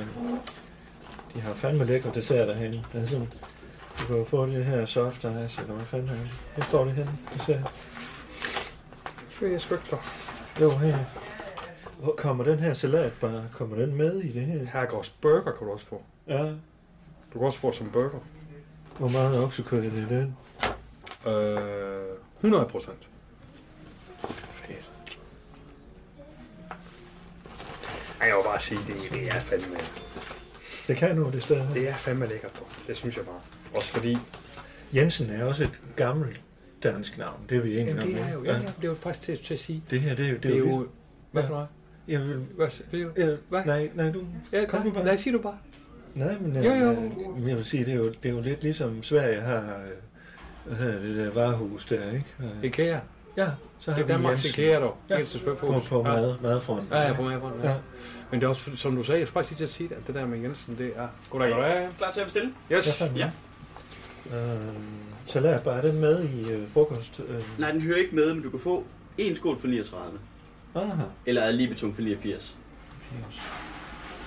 Speaker 5: de har fandme lækre desserter herinde. Altså, du kan jo få det her soft ice, eller hvad fanden er det? Hvor står det henne? Dessert.
Speaker 6: Det er jeg sgu ikke for.
Speaker 5: Jo, her. Hvor kommer den her salat bare, kommer den med i det her?
Speaker 6: Herregårds burger kan du også få.
Speaker 5: Ja.
Speaker 6: Du kan også få det som burger.
Speaker 5: Hvor meget oksekød er det i den?
Speaker 6: Øh, 100 procent.
Speaker 5: Fedt.
Speaker 6: Ej, jeg vil bare sige, det, det er fandme,
Speaker 5: Det kan nu det sted her.
Speaker 6: det er fandme lækkert på. Det synes jeg bare. Også fordi,
Speaker 5: Jensen er også et gammelt dansk navn, det er vi enige om. ikke?
Speaker 6: det er jo faktisk til, til at sige.
Speaker 5: Det her, det er jo... Det er jo,
Speaker 6: hvad for noget?
Speaker 5: jeg vil,
Speaker 6: Hvad, vil du?
Speaker 5: jeg,
Speaker 6: Øh, Hvad?
Speaker 5: nej, nej, du,
Speaker 6: Ja,
Speaker 5: kom nu bare.
Speaker 6: sig du bare.
Speaker 5: Nej, men øh,
Speaker 6: Jo, jo.
Speaker 5: øh, jeg vil sige, det er jo, det er jo lidt ligesom Sverige har øh, hvad hedder det der varehus der, ikke? Øh,
Speaker 6: Ikea.
Speaker 5: Ja, så har
Speaker 6: Det er
Speaker 5: vi
Speaker 6: Danmarks
Speaker 5: Jensen
Speaker 6: Ikea, dog.
Speaker 5: Ja.
Speaker 6: Helt til
Speaker 5: på,
Speaker 6: spørgsmål.
Speaker 5: på mad, madfronten.
Speaker 6: Ja, ja, på mig. Ja.
Speaker 5: Ja.
Speaker 6: ja. Men det er også, som du sagde, jeg skulle faktisk lige til at sige det, at det der med Jensen, det er... Goddag, goddag.
Speaker 2: Klar til at bestille?
Speaker 6: Yes.
Speaker 5: Ja. Øh, så lad bare den med i øh, frokost. Øh.
Speaker 11: Nej, den hører ikke med, men du kan få en skål for 39.
Speaker 5: Aha.
Speaker 11: Eller alibetum for 89.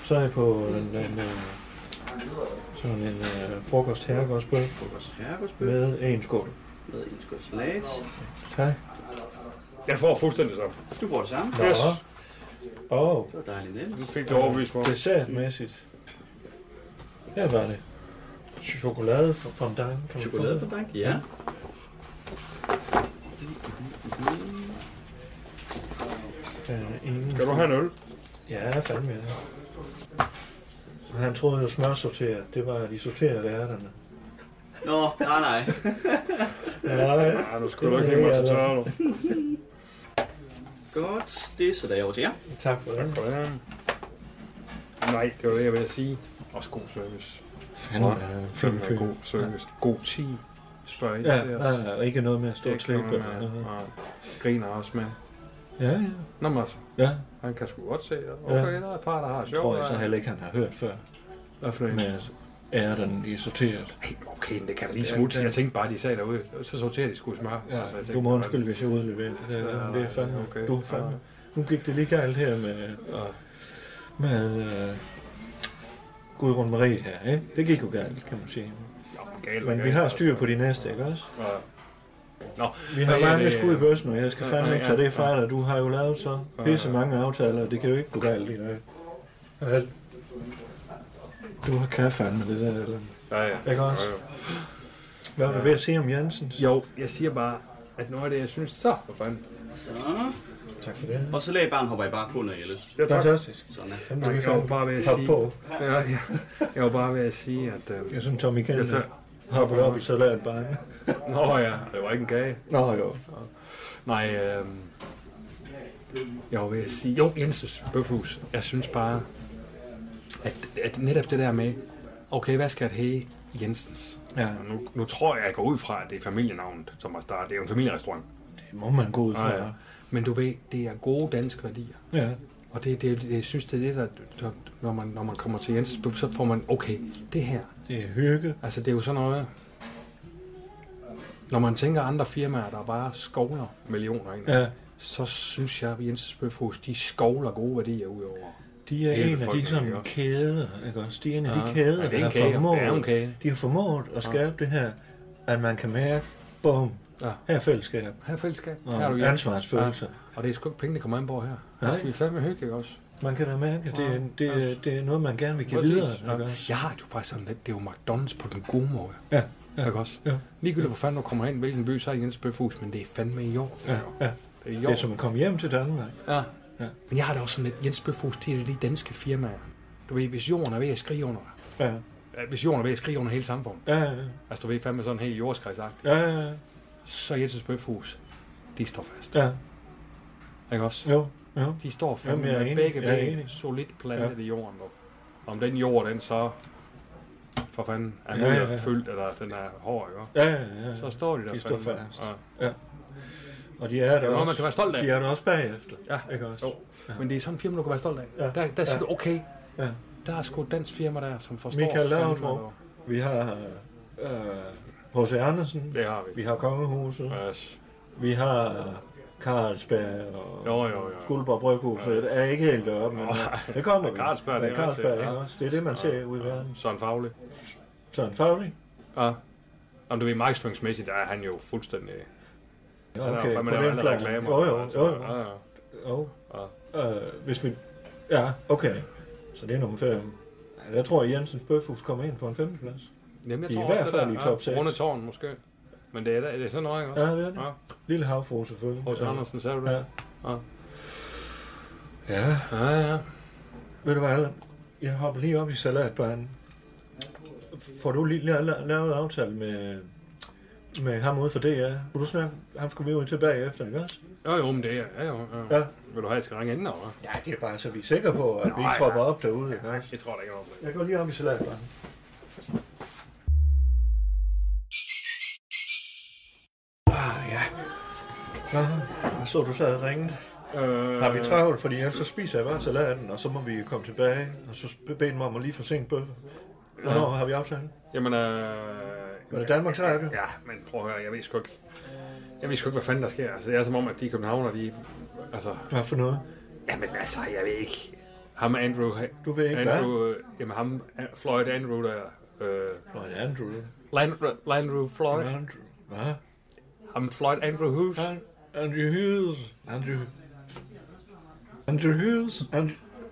Speaker 5: Så er jeg på en, en, øh, sådan en øh, frokost herregårdsbøf
Speaker 11: Frokost herregårdsbøf
Speaker 5: med en skål.
Speaker 11: med en skål salat.
Speaker 5: Tak.
Speaker 6: Jeg får fuldstændig sammen.
Speaker 11: Du får det samme.
Speaker 5: Nå.
Speaker 6: Yes.
Speaker 5: Og
Speaker 11: Det var dejligt nemt.
Speaker 6: Nu fik du overbevist mig.
Speaker 5: dessertmæssigt. Her var det. Chokolade fra fondant. kan man få
Speaker 11: Chokolade
Speaker 5: det?
Speaker 11: på dank? Ja.
Speaker 5: Øh, ingen...
Speaker 6: Skal du have en øl?
Speaker 5: Ja, fandme ja. Han troede jo smørsorteret, det var de sorterede ærterne.
Speaker 11: Nå, nej, nej.
Speaker 5: Ja,
Speaker 6: Ja, nu skulle du ikke give mig til tørre, du.
Speaker 11: Godt, det er så der over til jer.
Speaker 5: tak for det.
Speaker 6: Goddag. Nej, det var det, jeg ville sige. Også god service.
Speaker 5: Fandme,
Speaker 6: Fandme
Speaker 5: fyr.
Speaker 6: øh, god service. God ti. Spørg ikke
Speaker 5: Ja,
Speaker 6: til os.
Speaker 5: ja, og ikke noget med at stå og
Speaker 6: Det kan man,
Speaker 5: klippe. eller
Speaker 6: øh,
Speaker 5: noget.
Speaker 6: og griner også med.
Speaker 5: Ja, ja.
Speaker 6: Nå, men altså,
Speaker 5: Ja,
Speaker 6: han kan sgu godt se, at okay,
Speaker 5: Ja.
Speaker 6: der er et par, der har
Speaker 5: det
Speaker 6: sjov.
Speaker 5: tror jeg så heller ikke, han har hørt før.
Speaker 6: Hvad for en?
Speaker 5: Med at ærterne, de er sorteret.
Speaker 6: Ej, Okay, det kan da lige smutte. Jeg tænkte bare, de sagde derude, så sorterer de sgu smør. Altså, jeg tænkte,
Speaker 5: Du må undskylde, hvis jeg udleverer det. der, men Det er fandme.
Speaker 6: okay.
Speaker 5: Du er fandme. Nu gik det lige galt her med... og- Med... Øh, Gudrun Marie her, ikke? Det gik jo galt, kan man sige.
Speaker 6: Nå, galt,
Speaker 5: Men
Speaker 6: galt,
Speaker 5: vi har
Speaker 6: altså.
Speaker 5: styr på de næste, ikke også?
Speaker 6: Ja. Nå, hvad
Speaker 5: Vi har
Speaker 6: er
Speaker 5: mange
Speaker 6: det?
Speaker 5: skud i bøssen, og jeg skal fandme ikke tage det fra dig. Du har jo lavet så pisse
Speaker 6: ja.
Speaker 5: mange aftaler, og det kan jo ikke gå galt lige nu. Alt. Du har kaffe med det der, eller?
Speaker 6: Ja, ja.
Speaker 5: Ikke også?
Speaker 6: Jo, jo.
Speaker 5: Hvad var du ved at sige om Jensen?
Speaker 6: Jo, jeg siger bare, at noget af det, jeg synes, så for fanden.
Speaker 11: Så.
Speaker 5: Tak for det.
Speaker 11: Og så lag barn hopper i barkoden, når I har lyst.
Speaker 6: Ja, tak.
Speaker 5: Fantastisk.
Speaker 11: Sådan er.
Speaker 5: Jamen, du kan
Speaker 6: Jeg var
Speaker 5: fandme
Speaker 6: bare ved at
Speaker 5: hoppe
Speaker 6: sige,
Speaker 5: på.
Speaker 6: ja, ja. jeg var bare ved at sige, at... Øh,
Speaker 5: Jeg synes, Tommy
Speaker 6: jeg
Speaker 5: Kennedy
Speaker 6: så,
Speaker 5: hoppede op i salatbaren.
Speaker 6: nå ja, det var ikke en kage.
Speaker 5: Nå jo.
Speaker 6: Nej, øh, jeg var ved at sige, jo, Jensens Bøfhus, jeg synes bare, at, at netop det der med, okay, hvad skal det hedde i Jensens?
Speaker 5: Ja,
Speaker 6: Og Nu, nu tror jeg, at jeg går ud fra, at det er familienavnet, som har startet. Det er jo en familierestaurant.
Speaker 5: det må man gå ud fra.
Speaker 6: Ja, ja. Men du ved, det er gode danske værdier.
Speaker 5: Ah, Ja.
Speaker 6: Og det, det, det jeg synes, det er det, der, der når, man, når man kommer til Jensens Bøf, så får man, okay, det her,
Speaker 5: Det er hygge.
Speaker 6: altså det er jo sådan noget, når man tænker andre firmaer, der bare skovler millioner ind,
Speaker 5: Ja.
Speaker 6: så synes jeg, at Jensens Bøfhus, de skovler gode værdier ud over.
Speaker 5: De er
Speaker 6: Hele
Speaker 5: en af de
Speaker 6: befolkningen,
Speaker 5: sådan
Speaker 6: ikke også?
Speaker 5: kæder, ikke også? De er en af de
Speaker 6: Ja.
Speaker 5: kæder,
Speaker 6: Ja, det er
Speaker 5: der har
Speaker 6: en kage.
Speaker 5: formået,
Speaker 6: Det er jo en Ah. kage.
Speaker 5: de har formået at skabe det her, at man kan mærke, bum,
Speaker 6: Ja.
Speaker 5: her er fællesskab
Speaker 6: Her er fællesskab, her er du
Speaker 5: og
Speaker 6: hjemme.
Speaker 5: ansvarsfølelse.
Speaker 6: Og det er sgu ikke penge, der kommer an på her.
Speaker 5: Nej.
Speaker 6: Her skal vi fandme hygge, ikke også?
Speaker 5: Man kan da mærke, at det, er, det, er, det er noget, man gerne vil give
Speaker 6: Ah. Præcis.
Speaker 5: videre, ikke
Speaker 6: Ja.
Speaker 5: også?
Speaker 6: Jeg har det jo faktisk sådan lidt, det er jo McDonald's på den gode måde.
Speaker 5: Ja,
Speaker 6: Ja. Ikke også?
Speaker 5: Ja.
Speaker 6: Ligegyldigt, hvor fanden du kommer hen, hvilken by, så er Jens Bøfhus, men det er fandme i år. Ja.
Speaker 5: ja.
Speaker 6: Det er i
Speaker 5: Det
Speaker 6: år.
Speaker 5: er som at komme hjem til Danmark.
Speaker 6: Ja.
Speaker 5: Ja.
Speaker 6: ja. Men jeg har det også sådan lidt, Jens Bøfhus, det er de danske firmaer. Du ved, hvis jorden er ved at skrige under dig,
Speaker 5: Ja,
Speaker 6: Ja, hvis jorden er ved at skrige under hele samfundet,
Speaker 5: ja, ja,
Speaker 6: altså du ved fandme sådan helt jordskredsagt,
Speaker 5: ja, ja.
Speaker 6: så Jensens Bøfhus, de står fast.
Speaker 5: Ja.
Speaker 6: Ikke også?
Speaker 5: Jo, jo.
Speaker 6: De står
Speaker 5: Jamen,
Speaker 6: fandme
Speaker 5: jeg er
Speaker 6: med
Speaker 5: enig.
Speaker 6: begge
Speaker 5: Jeg er
Speaker 6: ben
Speaker 5: enig.
Speaker 6: solidt plantet i jorden. Du. Om den jord, den så for fanden er
Speaker 5: Ja,
Speaker 6: ja,
Speaker 5: ja,
Speaker 6: ja,
Speaker 5: ja.
Speaker 6: fyldt, eller den er hård, ikke? også?
Speaker 5: Ja, ja, ja, ja.
Speaker 6: Så står de der
Speaker 5: De står
Speaker 6: fandme.
Speaker 5: fast. Ja. ja. Og de er
Speaker 6: det
Speaker 5: der
Speaker 6: er
Speaker 5: også.
Speaker 6: noget, man kan være stolt af.
Speaker 5: De er der også bagefter.
Speaker 6: Ja.
Speaker 5: Ikke også?
Speaker 6: Jo. Men det er sådan en firma, du kan være stolt af.
Speaker 5: Ja.
Speaker 6: Ja. Der, der siger
Speaker 5: Ja.
Speaker 6: du, okay,
Speaker 5: ja.
Speaker 6: der er sgu et dansk firma der, som forstår
Speaker 5: Michael
Speaker 6: fandme
Speaker 5: Laudrup.
Speaker 6: noget.
Speaker 5: Vi har øh, H.C. Andersen.
Speaker 6: Det har vi.
Speaker 5: Vi har Kongehuset.
Speaker 6: Yes.
Speaker 5: Vi har øh, Carlsberg og
Speaker 6: Jo, jo, jo.
Speaker 5: Skuldborg Bryghus. Ja. Det er ikke helt deroppe, men øh, det kommer vi.
Speaker 6: Carlsberg,
Speaker 5: Men
Speaker 6: det er
Speaker 5: Carlsberg,
Speaker 6: rigtigt,
Speaker 5: ja.
Speaker 6: ja.
Speaker 5: også. Det er det, man ser ude i verden.
Speaker 6: Søren Faglig.
Speaker 5: Søren Faglig.
Speaker 6: Ja. Om du ved, markedsføringsmæssigt, der er han jo fuldstændig...
Speaker 5: Ja,
Speaker 6: han er jo
Speaker 5: okay,
Speaker 6: fandme
Speaker 5: på
Speaker 6: lavet
Speaker 5: den
Speaker 6: alle
Speaker 5: plan.
Speaker 6: reklamer.
Speaker 5: Jo, jo,
Speaker 6: altså.
Speaker 5: jo, jo.
Speaker 6: Ja, ja.
Speaker 5: Jo.
Speaker 6: Ja.
Speaker 5: Øh, hvis vi... Ja, okay. Så det er nummer 5. Jeg tror, at Jensens Bøfhus kommer ind på en femteplads.
Speaker 6: Jamen, jeg
Speaker 5: I
Speaker 6: tror
Speaker 5: hvert
Speaker 6: også, det
Speaker 5: fald
Speaker 6: der-
Speaker 5: i top
Speaker 6: ja,
Speaker 5: 6.
Speaker 6: Runde tårn, måske. Men det er, da- er det sådan noget, ikke? også?
Speaker 5: Ja, det er det.
Speaker 6: Ja.
Speaker 5: Lille havfru selvfølgelig.
Speaker 6: H.C.
Speaker 5: Ja.
Speaker 6: Andersen, sagde du det?
Speaker 5: Ja.
Speaker 6: Ja.
Speaker 5: Ja.
Speaker 6: Ja, ja.
Speaker 5: Ved du hvad, Allan? Jeg hopper lige op i salatbanen. Får du lige la- la- lavet en aftale med, med ham ude for DR? Vil du snakke? Ham skulle vi jo til bagefter, ikke også?
Speaker 6: Jo, jo, men det er... Ja, jo, ja.
Speaker 5: Ja.
Speaker 6: Vil du have, at jeg skal ringe inden, eller?
Speaker 5: Ja, det er bare så vi er sikre på, at vi ikke tropper op derude. Ikke? også?
Speaker 6: Jeg tror da ikke noget om det.
Speaker 5: Jeg går lige op i salatbanen. Ah, ja. Nå, jeg så du sad og ringede.
Speaker 6: Øh,
Speaker 5: Har vi travlt, fordi ellers så spiser jeg bare salaten, og så må vi komme tilbage, og så beder mig om at lige forsinke bøffer. Hvornår har vi aftalen?
Speaker 6: Jamen, øh...
Speaker 5: Var det Danmarks Radio?
Speaker 6: Ja, men prøv at høre, jeg ved sgu ikke... Jeg ved sgu ikke, hvad fanden der sker. Altså, det er som om, at de københavner, de... Altså...
Speaker 5: Hvad for noget?
Speaker 6: Jamen, altså, jeg ved ikke... Ham og Andrew...
Speaker 5: Du ved ikke, hvad?
Speaker 6: Andrew, hvad? Jamen, ham... Floyd Andrew, der... Øh,
Speaker 5: Floyd Andrew?
Speaker 6: Land, Landrew Floyd.
Speaker 5: Landrew. Hvad?
Speaker 6: Ham Floyd Andrew Hughes.
Speaker 5: Andrew Hughes. Andrew... Andrew Hughes? And,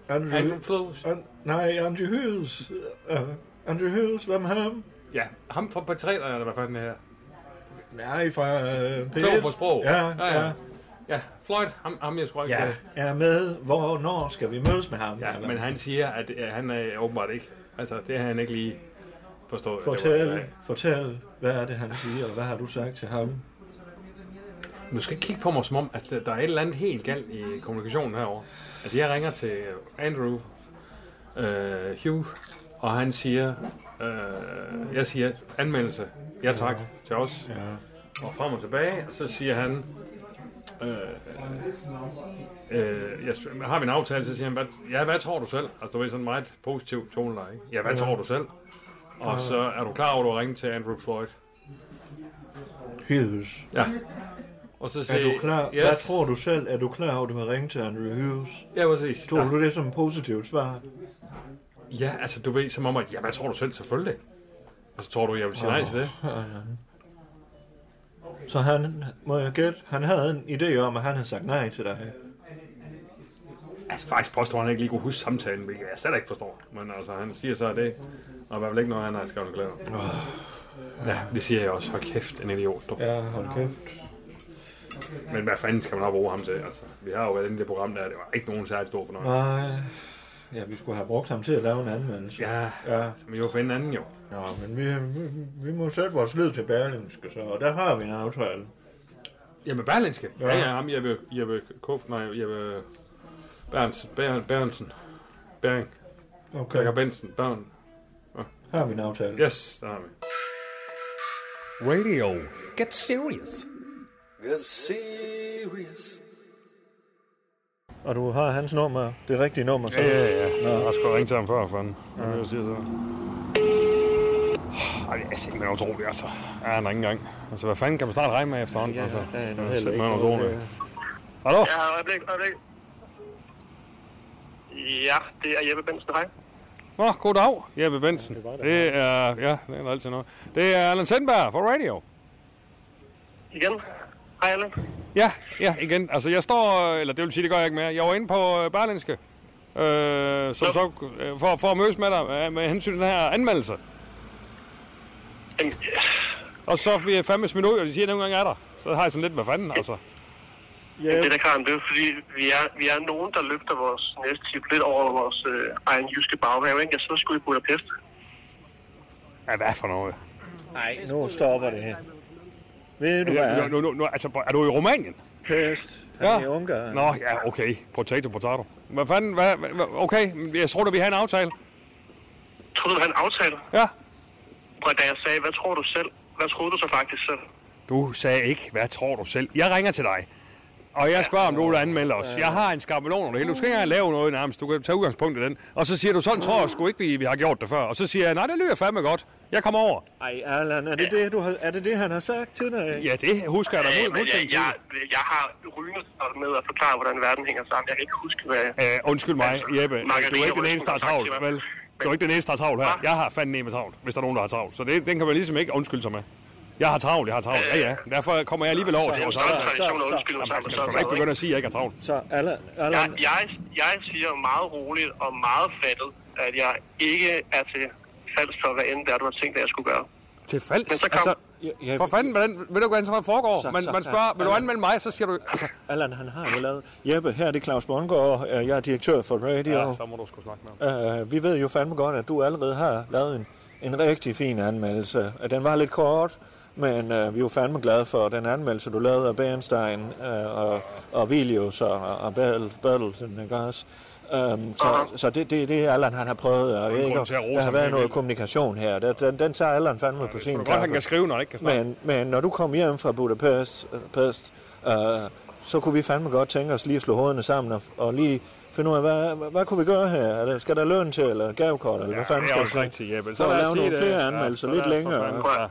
Speaker 5: Andrew...
Speaker 6: Andrew Close.
Speaker 5: An, nej, Andrew Hughes. Uh, Andrew Hughes, hvem er ham?
Speaker 6: Ja, ham fra Patrioterne, eller hvad fanden det her.
Speaker 5: Nej, fra uh, P1.
Speaker 6: Klog på sprog.
Speaker 5: Ja,
Speaker 6: ja.
Speaker 5: ja.
Speaker 6: ja. ja Floyd, ham, ham jeg skulle
Speaker 5: Ja, jeg er med. Hvornår skal vi mødes med ham?
Speaker 6: Ja, men han siger, at øh, han er åbenbart ikke. Altså, det har han ikke lige forstået. Det var-
Speaker 5: Fortæl, fortæl, hvad er det, han siger, og hvad har du sagt til ham?
Speaker 6: Du skal ikke kigge på mig som om, at der- der er et eller andet helt galt i kommunikationen herover. Altså, jeg ringer til Andrew øh, Hugh, og han siger, øh, jeg siger, anmeldelse, ja tak, til os. Og frem og tilbage, og så siger han, øh, øh, jeg sp- har min aftale, så siger han, hvad, ja, hvad tror du selv? Altså, du ved, sådan en meget positiv toneleje. ikke? Ja, hvad
Speaker 5: Ja.
Speaker 6: tror du selv? Og så er du klar over, at du har ringet til Andrew Floyd.
Speaker 5: Hughes.
Speaker 6: Ja. Og så
Speaker 5: Er
Speaker 6: siger,
Speaker 5: du klar? Yes. Hvad tror du selv? Er du klar over, at du har ringet til Andrew Hughes?
Speaker 6: Ja, præcis.
Speaker 5: Tror
Speaker 6: Ja.
Speaker 5: du det som et positivt svar?
Speaker 6: Ja, altså du ved, som om, at, ja, hvad tror du selv? Selvfølgelig. Og så tror du, jeg vil sige nej til det.
Speaker 5: Åh, ja. Så han, må jeg gætte, han havde en idé om, at han havde sagt nej til dig.
Speaker 6: Altså faktisk påstår han ikke lige kunne huske samtalen, hvilket jeg slet ikke forstår. Men altså, han siger så det, og i hvert fald ikke noget, han har skrevet glæder. Ja, det siger jeg også. Hold kæft, en idiot, du.
Speaker 5: Ja, hold kæft.
Speaker 6: Men hvad fanden skal man have bruge ham til? Altså, vi har jo været inde i det program der, det var ikke nogen særlig stor fornøjelse.
Speaker 5: Nej. Ja, vi skulle have brugt ham til at lave en anmeldelse.
Speaker 6: Ja,
Speaker 5: ja.
Speaker 6: så vi jo finde anden jo.
Speaker 5: Nå, men vi, vi, vi må sætte vores lid til Berlingske, så, og der har vi en aftale.
Speaker 6: Jamen, Berlinske.
Speaker 5: Ja.
Speaker 6: Ja, ja, ham Jeppe, Jeppe Kof, nej, Jeppe Berntsen, Bern, Berntsen, Bering,
Speaker 5: Okay.
Speaker 6: Jakob Bensen, Bern.
Speaker 5: Har vi en aftale?
Speaker 6: Yes, der har vi.
Speaker 1: Radio. Get serious.
Speaker 3: Get serious.
Speaker 5: Og du har hans nummer, det rigtige nummer, så?
Speaker 6: Ja, ja, ja.
Speaker 5: Nå.
Speaker 6: Jeg har sgu ringe til ham før, for han. Ja. Jeg siger så. Ej, det er simpelthen utroligt, altså. Ja, han er ikke engang. Altså, hvad fanden kan man snart regne med efterhånden?
Speaker 5: Ja,
Speaker 6: altså,
Speaker 5: der er
Speaker 6: det
Speaker 5: noget heller ikke
Speaker 6: simpelthen
Speaker 5: noget,
Speaker 6: utroligt.
Speaker 5: øh.
Speaker 6: Hallo?
Speaker 12: Ja, øjeblik, øjeblik. Ja, det er Jeppe Benson, hej.
Speaker 6: Nå, goddag, Jeppe Benson. Det er, ja, det er altid noget. Det er Allan Sendberg fra Radio.
Speaker 12: Igen. Hej, Allan.
Speaker 6: Ja, ja, igen. Altså, jeg står, øh, eller det vil sige, det gør jeg ikke mere. Jeg var inde på øh, Berlinske, øh, som så, øh, for, for at mødes med dig øh, med hensyn til den her anmeldelse. Og så bliver jeg fandme smidt ud, og de siger, at nogle gange er der. Så har jeg sådan lidt, hvad fanden, altså.
Speaker 12: Ja. Det er da klart, det er jo fordi, vi er, vi er nogen, der løfter vores næste tip lidt over vores øh, egen jyske baghave. Ikke? Jeg sidder sgu i Budapest.
Speaker 6: Ja, hvad for noget?
Speaker 5: Nej, nu stopper det her. Ved du hvad?
Speaker 6: Nu, nu, nu, nu, altså, er du i Rumænien?
Speaker 5: Pest. Han er i Ungarn.
Speaker 6: Nå, ja, okay. Potato, potato. Hvad fanden? Hvad, hvad, hvad- okay, men jeg tror da, vi har en aftale.
Speaker 12: Troede du, han aftalte?
Speaker 6: Ja.
Speaker 12: Og da jeg sagde, hvad tror du selv? Hvad troede du så faktisk selv?
Speaker 6: Du sagde ikke, hvad tror du selv? Jeg ringer til dig. Og jeg spørger, om du vil anmelde os. Jeg har en skabelon over det hele. Du skal ikke engang lave noget nærmest. Du kan tage udgangspunkt i den. Og så siger du, sådan tror jeg sgu ikke, vi, vi har gjort det før. Og så siger jeg, nej, det lyder fandme godt. Jeg kommer over.
Speaker 5: Ej, Allan, er det, det, du har, er det det, han har sagt til dig?
Speaker 6: Ja, det husker jeg da
Speaker 12: Øh,
Speaker 6: mod-
Speaker 12: men jeg,
Speaker 6: fuldstændig.
Speaker 12: jeg, jeg har rygnet med at forklare, hvordan verden hænger sammen. Jeg kan ikke huske, hvad...
Speaker 6: Øh, undskyld mig, Jeppe. Du er
Speaker 12: Altså, Margarine
Speaker 6: ikke den
Speaker 12: Røsler
Speaker 6: eneste, der har
Speaker 12: har sagt
Speaker 6: travlt,
Speaker 12: til mig.
Speaker 6: vel? Du er ikke den eneste, der har travlt her. Jeg har fandme med travlt, hvis der er nogen, der har travlt. Så det, den kan man ligesom ikke undskylde sig med. Jeg har travlt, jeg har travlt. Ja, ja. Derfor kommer jeg alligevel over til vores
Speaker 12: Øh, Så- så-
Speaker 6: arbejde.
Speaker 12: så- så- så- undskyld,
Speaker 6: Jamen,
Speaker 12: så-
Speaker 6: Man skal
Speaker 12: så-
Speaker 6: sgu da ikke begynde at sige, at jeg ikke har travlt.
Speaker 5: Så Allan,
Speaker 12: Jeg,
Speaker 5: Allan,
Speaker 12: jeg, jeg siger meget roligt og meget fattet, at jeg ikke er til falsk for, hvad end det er, du har tænkt, at jeg skulle gøre.
Speaker 6: Til falsk?
Speaker 12: Men så kom-
Speaker 5: ja,
Speaker 6: for fanden, hvordan, ved du, hvordan sådan noget foregår?
Speaker 5: Så-
Speaker 6: man,
Speaker 5: så-
Speaker 6: man spørger, vil du
Speaker 5: Allan.
Speaker 6: anmelde mig, så siger du... Altså,
Speaker 5: Allan, han har jo lavet... Jeppe, her er det Claus Bundgaard, øh, jeg er direktør for Radio.
Speaker 6: ja, så må du sgu snakke med ham.
Speaker 5: Uh, vi ved jo fandme godt, at du allerede har lavet en, en rigtig fin anmeldelse. Øh, Den var lidt kort, men uh, vi er jo fandme glade for den anmeldelse, du lavede af Bernstein uh, og, og Vilius og, og Bertel, Bertelsen, ikke også? Um, så, så det, det, det er Allan, han har prøvet, og
Speaker 6: ingen
Speaker 5: ikke,
Speaker 6: grund til at rose
Speaker 5: der har
Speaker 6: ham
Speaker 5: været
Speaker 6: helt
Speaker 5: noget
Speaker 6: vildt.
Speaker 5: kommunikation her. Den, den, den tager Allan fandme på sin
Speaker 6: Du
Speaker 5: kappe.
Speaker 6: godt, han kan skrive, når han ikke kan snakke.
Speaker 5: Men, men når du kom hjem fra Budapest, Pest, øh, så kunne vi fandme godt tænke os lige at slå hovederne sammen og, og lige finde ud af, hvad, hvad, hvad kunne vi gøre her? Er der- Skal der løn til, eller gavekort, eller ja, hvad fanden
Speaker 6: det er
Speaker 5: skal
Speaker 6: også
Speaker 5: der-
Speaker 6: rigtigt, Jeppe. Så
Speaker 5: Så
Speaker 6: lad os
Speaker 5: lave
Speaker 6: sige
Speaker 5: nogle
Speaker 6: det.
Speaker 5: flere
Speaker 6: Ja,
Speaker 5: anmeldelser
Speaker 6: så
Speaker 5: lidt
Speaker 6: lad os for
Speaker 5: længere.
Speaker 6: fanden.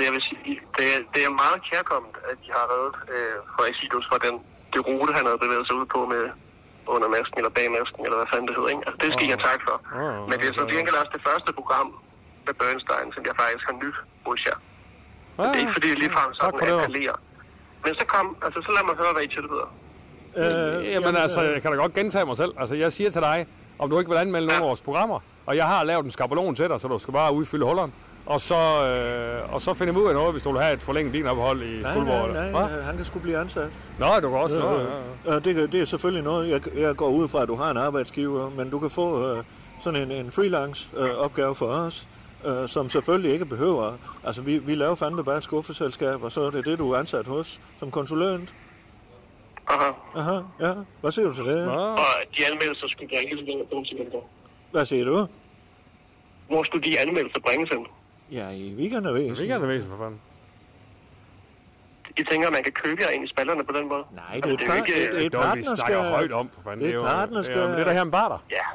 Speaker 12: Ja. Jeg vil sige, det er, det er meget kærkommet, at de har reddet øh, Faisidos fra den det rute, han havde bevæget sig ud på med under masken eller bag masken, eller hvad fanden det hedder. Ikke? Altså, det skal jeg takke for.
Speaker 6: Ah,
Speaker 12: Men det er så til gengæld også det første program med Bernstein, som jeg faktisk har nyt hos
Speaker 6: Ah,
Speaker 12: jer.
Speaker 6: Ja,
Speaker 12: Det er ikke fordi, jeg ligefrem
Speaker 6: for
Speaker 12: sådan
Speaker 6: det.
Speaker 12: appellerer. Men så kom, altså så lad mig høre, hvad I tilbyder.
Speaker 6: Øh, jamen altså, jeg kan da godt gentage mig selv. Altså, jeg siger til dig, om du ikke vil anmelde nogen af vores programmer, og jeg har lavet en skabelon til dig, så du skal bare udfylde hullerne. Og så, øh, og så finder vi ud af noget, hvis du vil have et forlænget din ophold i
Speaker 5: Nej,
Speaker 6: Fuldborg.
Speaker 5: nej, nej, han kan sgu blive ansat.
Speaker 6: Nå, du kan også. nå, ja, ja.
Speaker 5: Øh, øh, det, kan- det er selvfølgelig noget, jeg, jeg går ud fra, at du har en arbejdsgiver, men du kan få øh, sådan en, en freelance-opgave for os, øh, som selvfølgelig ikke behøver. Altså, vi, vi laver fandme bare et skuffeselskab, og så er det det, du er ansat hos som konsulent.
Speaker 12: Aha.
Speaker 5: Aha, ja. Hvad siger du til det?
Speaker 12: Og de anmeldelser skulle bringes ved at bruge til
Speaker 5: Hvad siger du?
Speaker 12: Hvor skulle de anmeldelser bringes hen?
Speaker 5: Ja, i weekendavisen.
Speaker 6: Weekendavisen, for fanden.
Speaker 12: I tænker, at man kan købe jer ind i spallerne på den måde?
Speaker 5: Nej, det er et par-
Speaker 12: ikke,
Speaker 5: det- det er et
Speaker 12: øh,
Speaker 5: partnerskab.
Speaker 6: Vi snakker højt om, for fanden.
Speaker 5: Det er
Speaker 6: jo-
Speaker 5: partnerskab.
Speaker 6: det er- men det er der her en barter.
Speaker 12: Ja,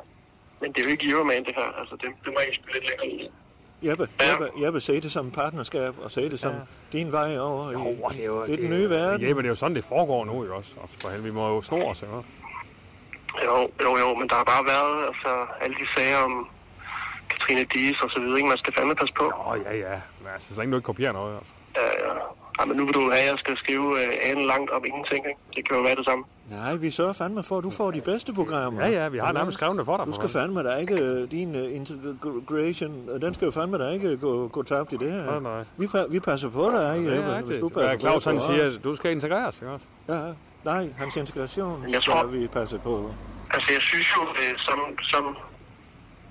Speaker 12: men det er jo ikke Euroman, det her. Altså, det, det må jeg ikke spille lidt længere ud.
Speaker 5: Jeppe, Jeppe, Jeppe, se det som et partnerskab, og se det som din vej over. Jo, det, er jo, det er den nye verden.
Speaker 6: Jeppe, det er jo sådan, det foregår nu, ikke også? Altså, for helvede, vi må jo snore os, ikke?
Speaker 12: Jo, jo, jo, men der har bare været altså, alle de sager om Katrine Dies og så videre. Ikke? Man skal fandme passe på.
Speaker 6: Åh, ja, ja. Men altså, så længe du ikke kopierer noget, altså.
Speaker 12: Øh, ej, men nu vil du have, at jeg skal skrive øh, anden langt om ingenting. Ikke? Det kan jo være det samme.
Speaker 5: Nej, vi sørger fandme for, at du får de bedste programmer.
Speaker 6: Ja, ja, vi har nærmest skrevet det for dig.
Speaker 5: Du
Speaker 6: for
Speaker 5: skal
Speaker 6: fanden.
Speaker 5: fandme da ikke, øh, din øh, integration, øh, den skal jo fandme da ikke gå, gå tabt i det her.
Speaker 6: Nej, nej.
Speaker 5: Vi, pa- vi passer på dig,
Speaker 6: Ja,
Speaker 5: Jeppe,
Speaker 6: det er
Speaker 5: hvis du
Speaker 6: rigtigt.
Speaker 5: passer
Speaker 6: Ja, Claus,
Speaker 5: på
Speaker 6: han
Speaker 5: os.
Speaker 6: siger, at du skal integreres, ikke også?
Speaker 5: Ja, nej, hans integration
Speaker 12: Jeg tror-
Speaker 5: skal vi passe på.
Speaker 12: Altså, jeg synes jo, øh, som, som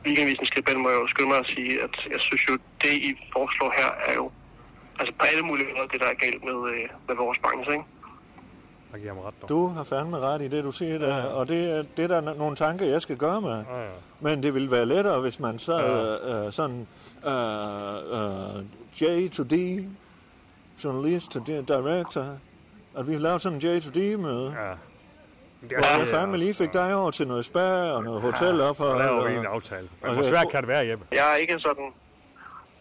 Speaker 12: weekendavisen skribent, må jeg jo skynde mig at sige, at jeg synes jo, det I foreslår her er jo altså på alle mulige måder, det der er galt med, øh, med vores branche, ikke?
Speaker 6: Jeg giver ham ret, dog.
Speaker 5: Du har fandme ret i det, du siger der, og det, er- det er der no- nogle tanker, jeg skal gøre mig.
Speaker 6: Ja, ja.
Speaker 5: Men det ville være lettere, hvis man så øh, øh, sådan øh, øh, J to D, journalist to di- director, at vi lavede sådan en J to D-møde.
Speaker 6: Ja.
Speaker 5: Hvor jeg fandme lige fik dig over til noget spa og noget
Speaker 6: altså. Så
Speaker 5: hotelophold.
Speaker 6: laver vi en
Speaker 5: og-
Speaker 6: aftale.
Speaker 5: og-
Speaker 6: Hvor svært kan det være, Jeppe?
Speaker 12: Jeg er ikke sådan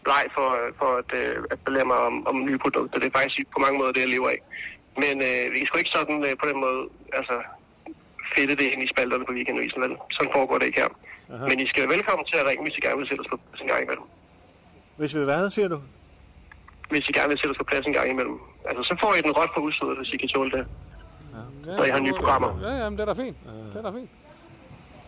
Speaker 12: bleg for, for at, øh, at belære mig om, om nye produkter. Det er faktisk på mange måder det, jeg lever af. Men øh, vi kan sgu ikke sådan øh, på den måde altså, fedte det ind i spalterne på weekendavisen. Vel? Sådan foregår det ikke her. Aha. Men I skal være velkommen til at ringe, hvis I gerne vil sætte os på plads en gang imellem.
Speaker 5: Hvis vi hvad, siger du?
Speaker 12: Hvis I gerne vil sætte os på plads en gang imellem. Altså, så får I den råt på udsødet, hvis I kan tåle det. Når I har nye programmer.
Speaker 6: Ja, ja, men det er da fint. Det er da fint.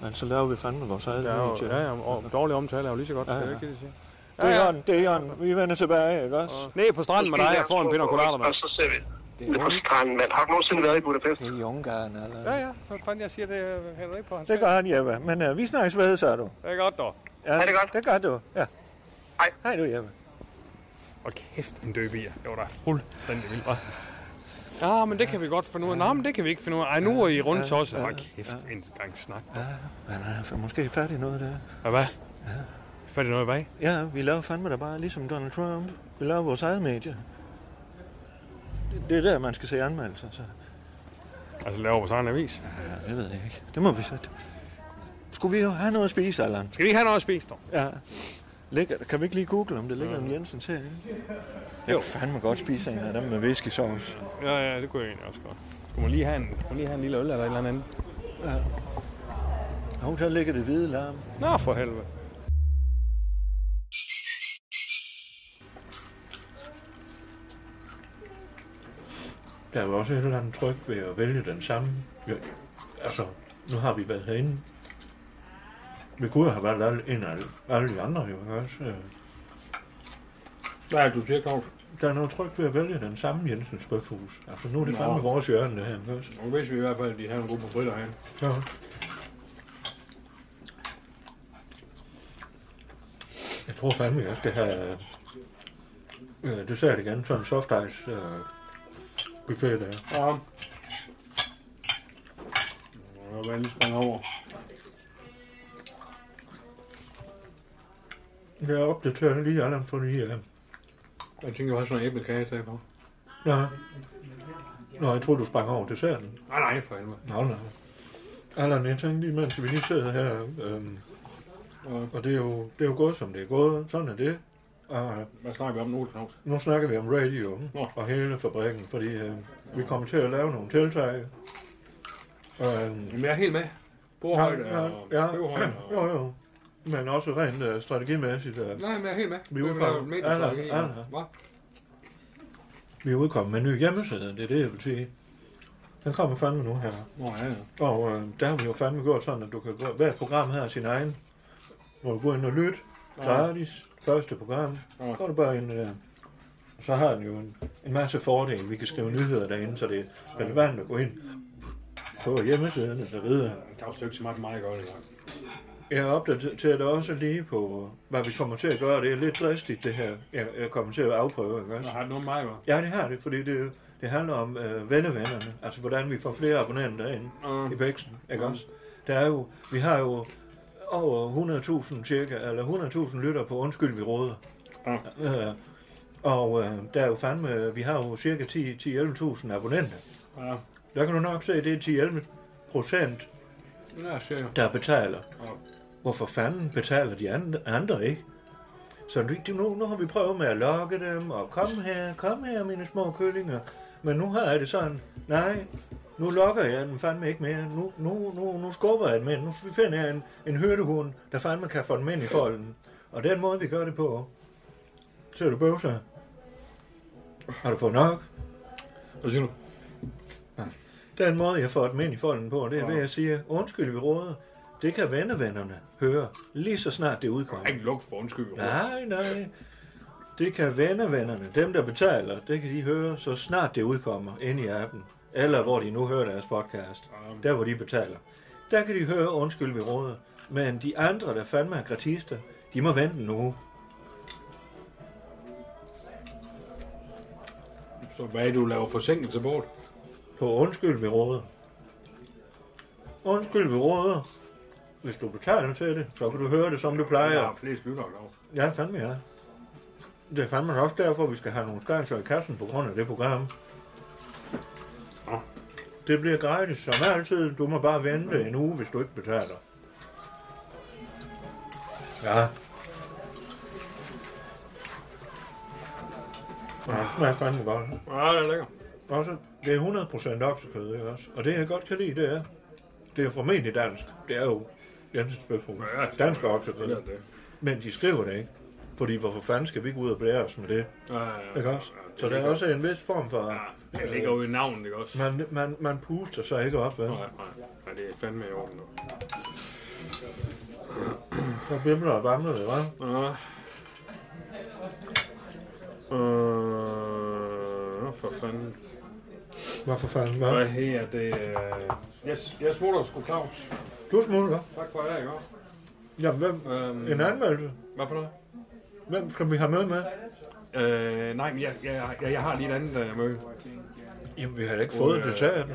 Speaker 5: Men så laver vi fandme vores eget
Speaker 6: Ja, jo,
Speaker 5: medie.
Speaker 6: ja, ja, og dårlig omtale er jo lige så godt.
Speaker 5: Ja,
Speaker 6: Det er
Speaker 5: ja.
Speaker 6: ikke det, de siger.
Speaker 5: Det er Jørgen, det er Jørgen. Vi vender tilbage, ikke også?
Speaker 6: Ned på stranden med dig og får en pina colada, mand.
Speaker 12: Og så ser vi. Det er på stranden, mand. Har du nogensinde været i Budapest?
Speaker 5: Det er i Ungarn, eller?
Speaker 6: Ja, ja, så fanden, jeg siger det øh, heller ikke på hans
Speaker 5: Det gør han, Jeppe. Men øh, vi snakkes ved, så er du.
Speaker 6: Det er godt, dog.
Speaker 5: Ja, det godt. Det gør du, ja.
Speaker 12: Hej.
Speaker 5: Hej du, Jeppe.
Speaker 6: Og kæft, en døbier. Det var da fuldstændig vildt. hva'? Ja, men det kan vi godt finde ud af. Nå, men det kan vi ikke finde ud af. Ej, nu er I rundt til os. Hold kæft, en gang snak.
Speaker 5: Men han er måske færdig noget der.
Speaker 6: Og hvad? Færdig noget hvad?
Speaker 5: Ja, vi laver fandme da bare ligesom Donald Trump. Vi laver vores eget medie. Det, det er der, man skal se anmeldelser. Så.
Speaker 6: Altså, laver vores egen avis?
Speaker 5: Ja, det ved jeg ikke. Det må vi sætte. Skulle vi jo have noget at spise, Allan?
Speaker 6: Skal vi ikke have noget at spise, dog?
Speaker 5: Ja. Ligger, kan vi ikke lige google, om det ligger en Jensens herinde? Jeg kunne fandme godt spise en af dem med viskesauce.
Speaker 6: Ja, ja, det kunne jeg egentlig også godt. Skulle man lige have en, skulle man lige have en lille øl eller et eller andet?
Speaker 5: Ja. Hov, der ligger det hvide larm.
Speaker 6: Nå, for helvede.
Speaker 5: Der er jo også et eller andet tryk ved at vælge den samme. Ja, altså, nu har vi været herinde. Vi kunne jo have valgt alle, en af alle, alle de andre, jo ikke også? øh.
Speaker 6: Hvad er det, du siger, Claus?
Speaker 5: Der er noget tryk ved at vælge den samme Jensens bøfhus. Altså, nu er det
Speaker 6: Nå.
Speaker 5: fandme vores hjørne, det her, ikke også?
Speaker 6: Nu vidste vi i hvert fald, at de havde en god på fritter herinde.
Speaker 5: Ja. Jeg tror fandme, jeg skal have øh, dessert igen, sådan en soft ice øh, buffet der.
Speaker 6: Ja. Og vandet sprang over.
Speaker 5: Jeg er opdateret lige alle for nye. Øh.
Speaker 6: Jeg tænkte, du havde sådan en æblekage i stedet for.
Speaker 5: Nå. Nå, jeg troede, du sprang over desserten.
Speaker 6: Nej, nej, for helvede.
Speaker 5: Nå, nej. Allan, jeg tænkte lige, mens vi lige sidder her, øhm, og det er, jo, det er jo gået, som det er gået. Sådan er det. Og
Speaker 6: Hvad snakker vi om nu, Claus?
Speaker 5: nu snakker vi om radio og hele fabrikken, fordi øh, vi kommer til at lave nogle tiltag. Øhm,
Speaker 6: Jamen, jeg er helt med. Bordhøjde
Speaker 5: ja,
Speaker 6: og
Speaker 5: ja, ja,
Speaker 6: bøvhøjde og-
Speaker 5: jo, jo. Men også rent øh, strategimæssigt. Øh,
Speaker 6: Nej, men jeg er helt med.
Speaker 5: Vi
Speaker 6: er
Speaker 5: udfordrer-
Speaker 6: jo mediestrategi.
Speaker 5: Ja, ja, ja.
Speaker 6: Hvad?
Speaker 5: vi er udkommet med en ny hjemmeside, det er det, jeg vil sige. Den kommer fandme nu her.
Speaker 6: Nå, ja, ja.
Speaker 5: Og øh, der har vi jo fandme gjort sådan, at du kan gå, hvert program her er sin egen, hvor du går ind og lytter,
Speaker 6: Ja.
Speaker 5: gratis, første program, så er du bare ind der. Og så har den jo en, en masse fordele. Vi kan skrive nyheder derinde, så det er relevant at gå ind på hjemmesiden og så videre.
Speaker 6: Claus, det er jo ikke så meget, meget godt i dag.
Speaker 5: Jeg opdaterer dig også lige på, hvad vi kommer til at gøre. Det er lidt dristigt, det her. Jeg, jeg kommer til at afprøve, ikke også?
Speaker 6: Nå, har det noget med mig, hva'?
Speaker 5: Ja, det har det, fordi det, det handler om øh, vennevennerne. Altså, hvordan vi får flere abonnenter ind
Speaker 6: Mm.
Speaker 5: i væksten, ikke
Speaker 6: Mm.
Speaker 5: også? Der er jo, vi har jo over 100.000 cirka, eller 100.000 lytter på Undskyld, vi råder. Øh, og øh, der er jo fandme, vi har jo cirka 10 10-11.000 abonnenter.
Speaker 6: Ja.
Speaker 5: Der kan du nok se, at det er 10-11 procent,
Speaker 6: Ja, jeg ser jo.
Speaker 5: der betaler.
Speaker 6: Ja.
Speaker 5: Hvorfor fanden betaler de andre, andre ikke? Så nu- de- nu, nu har vi prøvet med at lokke dem, og kom her, kom her, mine små kyllinger. Men nu har jeg det sådan, nej, nu lokker jeg den fandme ikke mere. Nu, nu, nu, nu skubber jeg dem ind. Nu finder jeg en, en hyrdehund, der fandme kan få dem ind i folden. Og den måde, vi gør det på. Ser du bøvser? Har du fået nok?
Speaker 6: Hvad siger du?
Speaker 5: Den måde, jeg får dem ind i folden på, det er
Speaker 6: Ja.
Speaker 5: ved at sige, undskyld, vi råder. Det kan vennevennerne høre, lige så snart det udkommer.
Speaker 6: Ikke luk for undskyld. vi råder.
Speaker 5: Nej, nej. Det kan vennevennerne, dem der betaler, det kan de høre, så snart det udkommer inde i appen. Eller hvor de nu hører deres podcast. Der hvor de betaler. Der kan de høre, undskyld vi råder. Men de andre, der fandme er gratister, de må vente en uge.
Speaker 6: Så hvad er det, du laver forsinkelse bort?
Speaker 5: På undskyld vi råder. Undskyld vi råder. Hvis du betaler til det, så kan du høre det, som du plejer.
Speaker 6: Jeg har flest lyttere, Claus.
Speaker 5: Ja, fandme ja. Det er fandme også derfor, vi skal have nogle skejser i kassen på grund af det program. Det bliver gratis, som altid. Du må bare vente en uge, hvis du ikke betaler. Ja. Ja,
Speaker 6: Ah.
Speaker 5: det smager fandme godt.
Speaker 6: Ja, det er lækkert.
Speaker 5: Også, det er 100% oksekød, ikke også? Og det, jeg godt kan lide, det er, det er formentlig dansk. Det er jo Jensens Bøfhus.
Speaker 6: Ja, det er-
Speaker 5: Dansk oksekød.
Speaker 6: det er det.
Speaker 5: Men de skriver det ikke. Fordi hvorfor fanden skal vi ikke ud og blære os med det?
Speaker 6: Ja, ja, ja.
Speaker 5: Ikke også?
Speaker 6: Ja, det
Speaker 5: Så der er
Speaker 6: ligger-
Speaker 5: også en vis form for...
Speaker 6: Det ligger jo i navnet, ikke også?
Speaker 5: Man, man, man puster sig ikke op, vel?
Speaker 6: Nej, nej. Nej, det er fandme i orden. dog.
Speaker 5: Så bimler og bamler det, hva'?
Speaker 6: Ja. Øh, nå, for fanden.
Speaker 5: Hvorfor fanden, hva'?
Speaker 6: Hvad her, det er... Jeg, jeg smutter sgu Claus.
Speaker 5: Du smutter.
Speaker 6: Tak for i dag, ikke også?
Speaker 5: Jamen, hvem?
Speaker 6: Øhm,
Speaker 5: En anmeldelse?
Speaker 6: Hvad for noget?
Speaker 5: Hvem skal vi have med med?
Speaker 6: Øh, nej, men jeg, jeg, jeg, jeg har lige et andet øh, møde.
Speaker 5: Jamen, vi har da ikke fået det, sagde jeg.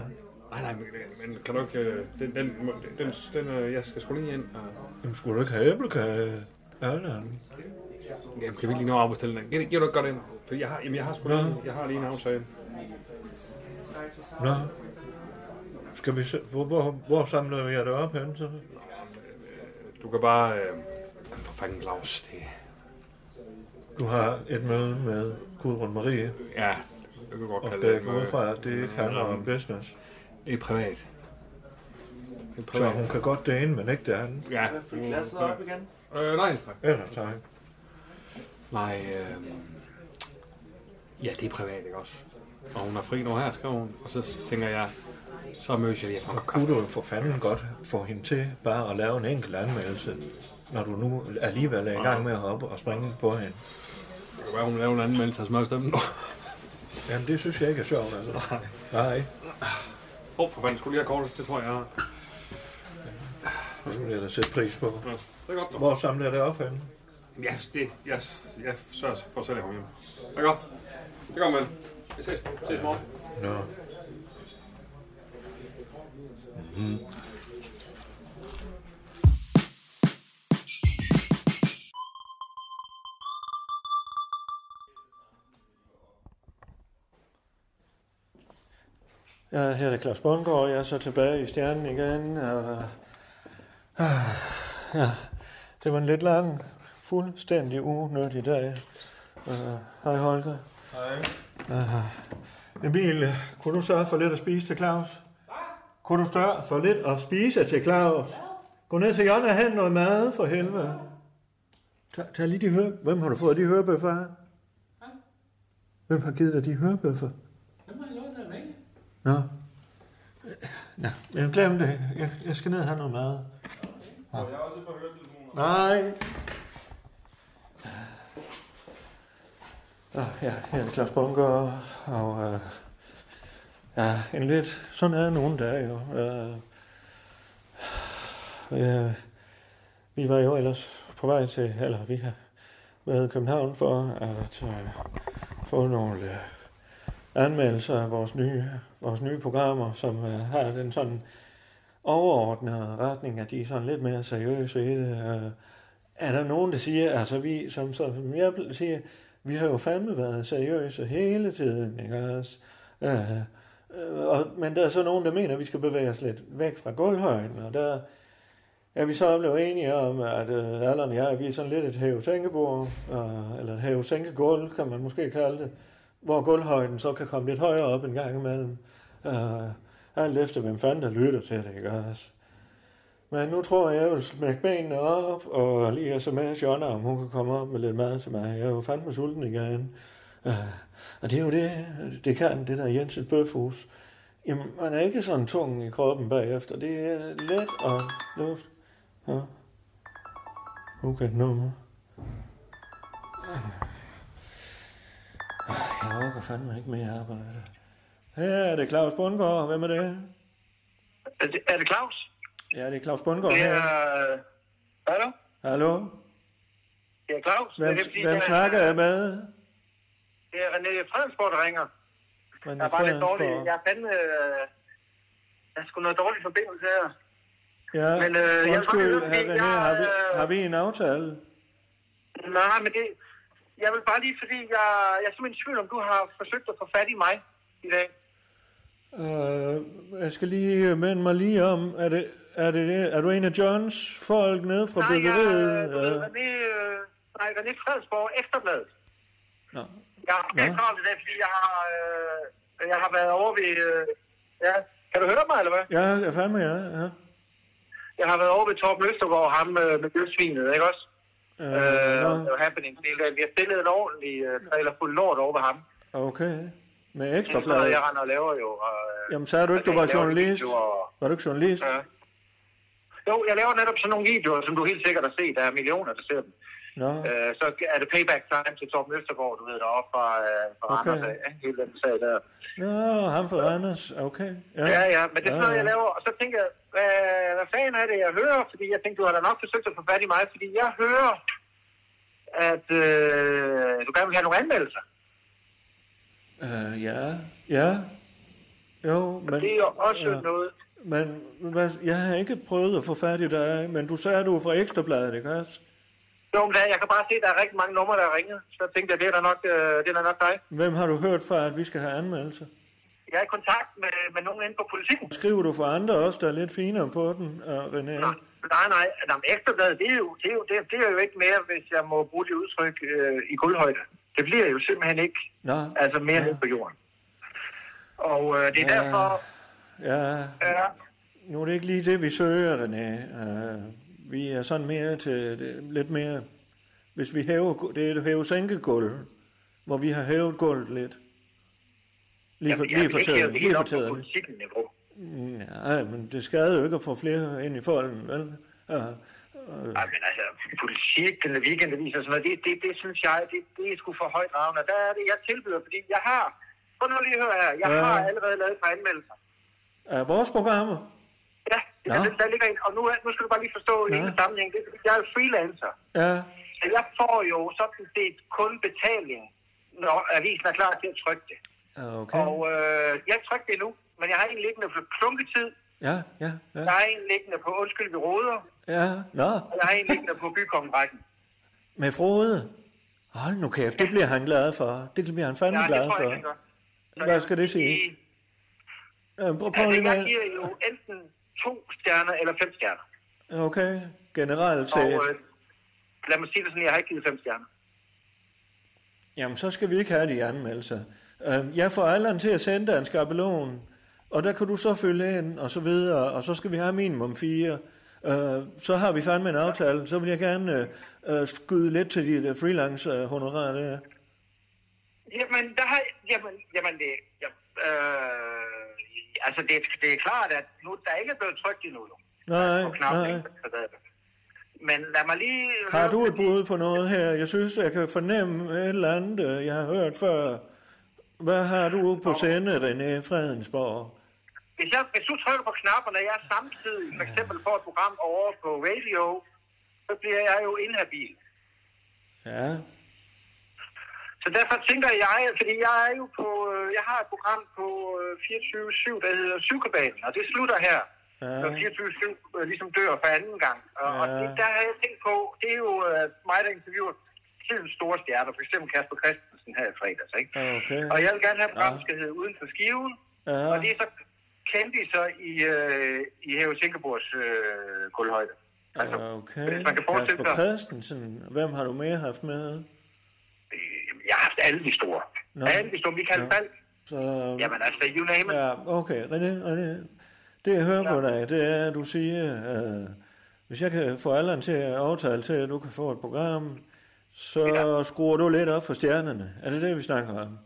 Speaker 6: Nej, nej, men, men kan du ikke... Øh, den, den, må- den, den, den øh, jeg skal sgu lige ind. Og,
Speaker 5: Jamen, skulle du ikke have æblekage? Allan.
Speaker 6: jamen, kan vi ikke lige nå at afbestille den? Giv, giv du ikke godt ind? Fordi jeg har, jamen, jeg har sgu lige, jeg har lige en aftale.
Speaker 5: Nå. Skal vi se, hvor, hvor, hvor samler vi jer det op hen, så?
Speaker 6: Du kan bare... Øh, for fanden, Claus, det...
Speaker 5: Du har et møde med Gudrun Marie.
Speaker 6: Ja, det kan godt
Speaker 5: Og
Speaker 6: kalde
Speaker 5: skal
Speaker 6: det
Speaker 5: jeg gå
Speaker 6: et
Speaker 5: ud
Speaker 6: møde.
Speaker 5: fra, at det ikke handler om
Speaker 6: Mm.
Speaker 5: business.
Speaker 6: Det er privat. Det er
Speaker 5: Så
Speaker 6: privat.
Speaker 5: hun kan godt det ene, men ikke det andet.
Speaker 6: Ja.
Speaker 11: Fylde glasset op igen?
Speaker 6: Øh, nej, tak.
Speaker 5: Ellers tak.
Speaker 6: Nej, øh... Ja, det er privat, ikke også? Og hun er fri nu her, skrev hun. Og så tænker jeg, så mødes jeg lige efter en kop
Speaker 5: Kunne du for fanden godt få hende til bare at lave en enkelt anmeldelse, når du nu alligevel er i gang med at hoppe og springe på hende?
Speaker 6: Det kan være, hun laver en anmeldelse af smørstemmen.
Speaker 5: Jamen, det synes jeg ikke er sjovt, altså. Nej.
Speaker 6: Åh, oh, for fanden, skulle lige have kortet? Det tror jeg, jeg har.
Speaker 5: Det vil jeg da sætte pris på.
Speaker 6: Ja, det er godt, dog.
Speaker 5: Hvor samler jeg det op henne?
Speaker 6: Ja, det, jeg, jeg sørger for selv at komme hjem. Det er godt. Det er godt, men. Vi ses. ses i morgen.
Speaker 5: Nå. Mm. Ja, her er det Claus Bundgaard. Jeg er så tilbage i stjernen igen. Og, ah, ja, det var en lidt lang, fuldstændig unødig dag. Øh, Hej Holger.
Speaker 13: Hej.
Speaker 5: Uh, Emil, øh, kunne du sørge for lidt at spise til Claus? Kunne du sørge for lidt at spise til Claus? Gå ned til hjørnet og hent noget mad for helvede. Tag, tag lige de høre... Hvem har du fået de hørebøffer af? Hvem har givet dig de hørebøffer?
Speaker 14: Hvem har lånt af mig?
Speaker 5: Nå. Øh, Nå, jeg glemte det. Jeg, jeg skal ned og have noget mad. Nå.
Speaker 13: Og jeg har også et par høretelefoner.
Speaker 5: Nej. Nå, ja, her er Claus Bunker, og øh, ja, en lidt, sådan er nogle dage jo. Øh, øh, vi var jo ellers på vej til, eller vi har været i København for at øh, få nogle øh, anmeldelser af vores nye, vores nye programmer, som øh, har den sådan overordnede retning, at de er sådan lidt mere seriøse i det. Øh, er der nogen, der siger, altså vi, som, som jeg siger, vi har jo fandme været seriøse hele tiden, ikke også? Øh, øh, og, men der er så nogen, der mener, at vi skal bevæge os lidt væk fra gulvhøjden, og der er vi så blevet enige om, at øh, Allan og jeg, vi er sådan lidt et hæve-sænkebord, øh, eller et hæve-sænkegulv, kan man måske kalde det, hvor gulvhøjden så kan komme lidt højere op en gang imellem. Øh, alt efter, hvem fanden der lytter til det, ikke også? Men nu tror jeg, jeg vil smække benene op, og lige sms Jonna, om hun kan komme op med lidt mad til mig. Jeg er jo fandme sulten igen. Øh, og det er jo det, det kan det der Jensens bøfhus. Jamen, man er ikke sådan tung i kroppen bagefter. Det er let og luft. Ja. Okay, nummer. Jeg orker fandme ikke mere arbejde. Her er det Claus Bundgaard. Hvem er det?
Speaker 12: Er det, er det Claus?
Speaker 5: Ja, det er Claus Bundgaard.
Speaker 12: Det
Speaker 5: her.
Speaker 12: er... Hallo?
Speaker 5: Hallo?
Speaker 12: Det er Claus.
Speaker 5: Hvem,
Speaker 12: det er, fordi,
Speaker 5: hvem
Speaker 12: det er-
Speaker 5: snakker jeg med?
Speaker 12: Det er René Fredensborg, der ringer.
Speaker 5: Men
Speaker 12: Jeg er bare lidt dårlig.
Speaker 5: Fredensborg.
Speaker 12: Jeg er fandme... Øh, jeg har sgu noget dårlig forbindelse her.
Speaker 5: Ja,
Speaker 12: Men, øh, jeg vil bare
Speaker 5: undskyld,
Speaker 12: høre,
Speaker 5: herre
Speaker 12: fordi
Speaker 5: René,
Speaker 12: jeg,
Speaker 5: har, vi,
Speaker 12: øh,
Speaker 5: har vi en aftale?
Speaker 12: Nej, men det... Jeg vil bare lige, fordi jeg, jeg er simpelthen i tvivl, om du har forsøgt at få fat i mig i dag.
Speaker 5: Øh, jeg skal lige minde mig lige om, er, det, er, det, det- er du en af Johns folk nede fra
Speaker 12: Nej, jeg,
Speaker 5: byggeriet?
Speaker 12: du ved,
Speaker 5: Øh,
Speaker 12: René, øh, nej, René Fredensborg, Efterblad.
Speaker 5: Nå.
Speaker 12: Jeg har
Speaker 5: Nå.
Speaker 12: ja. travlt i dag, fordi jeg har, øh, jeg har været over ved... Øh, ja. Kan du høre mig, eller hvad?
Speaker 5: Ja, jeg fandme ja. ja.
Speaker 12: Jeg har været over ved Torben Østergaard, ham øh, med dødsvinet, ikke også?
Speaker 5: Øh,
Speaker 12: Øh,
Speaker 5: nå,
Speaker 12: det var happening hele dagen. Vi har stillet en ordentlig øh, trailer fuld lort over ved ham.
Speaker 5: okay. Med
Speaker 12: Det er sådan noget,
Speaker 5: ekstrabladet.
Speaker 12: jeg render og laver jo. Og, øh,
Speaker 5: Jamen, sagde du ikke,
Speaker 12: og
Speaker 5: du var
Speaker 12: jeg laver
Speaker 5: journalist?
Speaker 12: videoer.
Speaker 5: Var du ikke journalist?
Speaker 12: Ja. Jo, jeg laver netop sådan nogle videoer, som du helt sikkert har set. Der er millioner, der ser dem.
Speaker 5: Nå,
Speaker 12: Øh, så er det payback time til Torben Østergaard, du ved, deroppe fra, øh, fra
Speaker 5: Okay.
Speaker 12: okay. Randers. af, ikke? Hele den sag der.
Speaker 5: nå ham fra Anders. Okay.
Speaker 12: Ja. ja, ja, men det er sådan noget,
Speaker 5: ja.
Speaker 12: jeg laver. Og så tænker jeg, hvad, hvad fanden er det, jeg hører? Fordi jeg tænkte, du har da nok forsøgt at få fat i mig, fordi jeg hører,
Speaker 9: at øh, du gerne vil have nogle anmeldelser.
Speaker 5: Øh, ja, ja. Jo, men...
Speaker 9: Det er jo også
Speaker 5: ja.
Speaker 9: noget...
Speaker 5: Men hvad, jeg har ikke prøvet at få fat i dig, men du sagde, at du er fra Ekstrabladet, ikke også?
Speaker 9: Jo, men der- jeg kan bare se, at der er rigtig mange numre, der er ringet. Så jeg tænkte, at det er da nok, øh, det er da nok dig.
Speaker 5: Hvem har du hørt fra, at vi skal have anmeldelse?
Speaker 9: Jeg er i kontakt med, med nogen inde på politikken.
Speaker 5: Skriver du for andre også, der er lidt finere på den, og René? Nej.
Speaker 9: Nej, nej, Nå, men ekstrabladet, det er, jo, det, er jo, det, det er jo ikke mere, hvis jeg må bruge det udtryk øh, i guldhøjde. Det bliver jo simpelthen ikke
Speaker 5: Nå,
Speaker 9: altså mere ned på jorden. Og øh, det er
Speaker 5: Ja.
Speaker 9: derfor, øh,
Speaker 5: ja.
Speaker 9: ja,
Speaker 5: Nu er det ikke lige det, vi søger, René. Uh, vi er sådan mere til det, lidt mere... Hvis vi hæver... gu- Det er et hæve-sænke-gulv, hvor vi har hævet gulvet lidt. Lige for,
Speaker 9: jeg
Speaker 5: lige
Speaker 9: vil
Speaker 5: for
Speaker 9: ikke hæve
Speaker 5: tæderne.
Speaker 9: det
Speaker 5: Lige
Speaker 9: helt
Speaker 5: for
Speaker 9: op på
Speaker 5: tæderne.
Speaker 9: politikken-niveau.
Speaker 5: Nej, men det skader jo ikke at få flere ind i folden, vel? Uh, uh,
Speaker 9: Nej, men altså, politik, den weekendavis og sådan noget, det, det, det synes jeg, det, det er sgu for højt ravn. Og der er det, jeg tilbyder, fordi jeg har, prøv nu lige at høre her, jeg
Speaker 5: Ja.
Speaker 9: har allerede lavet et par anmeldelser.
Speaker 5: uh, Øh, vores programmer?
Speaker 9: Ja. Der, der ligger en, og nu, er- nu skal du bare lige forstå ja. hele sammenhængen. Det er, fordi jeg er jo freelancer.
Speaker 5: Ja,
Speaker 9: Så jeg får jo sådan set kun betaling, når avisen er klar til at trykke det.
Speaker 5: okay.
Speaker 9: Og øh, jeg trykker det nu, men jeg har en liggende på klunketid,
Speaker 5: Ja, ja,
Speaker 9: ja.
Speaker 5: ja.
Speaker 9: jeg har en liggende på Undskyld, vi råder,
Speaker 5: Ja, nå.
Speaker 9: og jeg har en liggende på bykongerækken.
Speaker 5: Med Frode. Hold nu kæft, det bliver han glad for. Det bliver han fandme
Speaker 9: Ja, det
Speaker 5: glad
Speaker 9: tror jeg, han
Speaker 5: for.
Speaker 9: gør.
Speaker 5: Hvad skal det sige? Øh, Prøv, prøv
Speaker 9: Altså,
Speaker 5: lige
Speaker 9: jeg
Speaker 5: med.
Speaker 9: giver jo enten to stjerner eller fem stjerner.
Speaker 5: Okay, generelt
Speaker 9: Og
Speaker 5: set.
Speaker 9: øh, lad mig sige det sådan, jeg har ikke givet fem stjerner.
Speaker 5: Jamen, så skal vi ikke have de anmeldelser. Øh, Jeg får Allan til at sende dig en skabelon, og der kan du så fylde ind, og så videre, og så skal vi have minimum fire. Øh, Så har vi fandme en aftale. Så vil jeg gerne øh, øh, skyde lidt til dit øh, freelance-honorar der.
Speaker 9: Jamen, der har, jamen, jamen det, jamen, øh, altså det, det er klart, at nu, der er ikke er blevet trykt endnu. jo.
Speaker 5: Nej,
Speaker 9: På knappen,
Speaker 5: nej.
Speaker 9: ikke? Så der- Men lad mig lige...
Speaker 5: Har du et bud på noget her? Jeg synes, jeg kan fornemme et eller andet, øh, jeg har hørt før. Hvad har du på sende, René Fredensborg?
Speaker 9: Hvis, jeg, hvis du trykker på knapperne, og jeg samtidig for eksempel får et program over på radio, så bliver jeg jo inhabil.
Speaker 5: Ja,
Speaker 9: Så derfor tænker jeg, fordi jeg er jo på, øh, jeg har et program på øh, 24-7, der hedder Syvkabalen, og det slutter her.
Speaker 5: Ja.
Speaker 9: Når 24-7 øh, ligesom dør for anden gang. Og, ja. og
Speaker 5: Ja.
Speaker 9: det, der har jeg tænkt på, det er jo øh, mig, der interviewer tidens store stjerner, for eksempel Kasper Christensen her i fredags, ikke?
Speaker 5: okay.
Speaker 9: Og jeg vil gerne have et program, der skal hedde Uden for Skiven,
Speaker 5: Ja.
Speaker 9: og det er så kendte så i, øh, i Hæve Singapores øh, kulhøjde.
Speaker 5: Okay,
Speaker 9: altså, man kan forestille
Speaker 5: Kasper
Speaker 9: sig-
Speaker 5: Christensen. Hvem har du mere haft med?
Speaker 9: Jeg har haft alle de store.
Speaker 5: Nå.
Speaker 9: Alle de store. Michael
Speaker 5: Nå.
Speaker 9: Falk.
Speaker 5: Så...
Speaker 9: Jamen altså, you name it.
Speaker 5: Ja, okay, René, René. Det jeg hører på dig, det er, at du siger, øh, hvis jeg kan få alderen til at aftale til, at du kan få et program, så skruer du lidt op for stjernerne. Er det det, vi snakker om?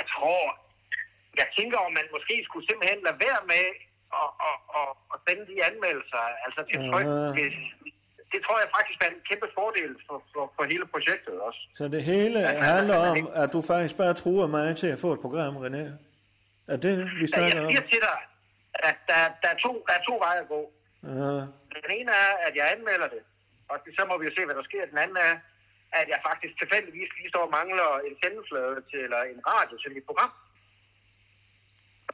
Speaker 9: jeg tror, jeg tænker, om man måske skulle simpelthen lade være med at, at, at, at sende de anmeldelser, altså til tryk,
Speaker 5: Aha.
Speaker 9: hvis, det tror jeg faktisk er en kæmpe fordel for, for, for hele projektet også.
Speaker 5: Så det hele handler om, at du faktisk bare truer mig til at få et program, René. Er det, vi
Speaker 9: Ja, Jeg
Speaker 5: snakker om?
Speaker 9: siger til dig, at der, der, er to, der er to veje at gå.
Speaker 5: Ja,
Speaker 9: Den ene er, at jeg anmelder det, og det- så må vi jo se, hvad der sker. Den anden er, at jeg faktisk tilfældigvis lige står og mangler en sendeflade til, eller en radio til mit program.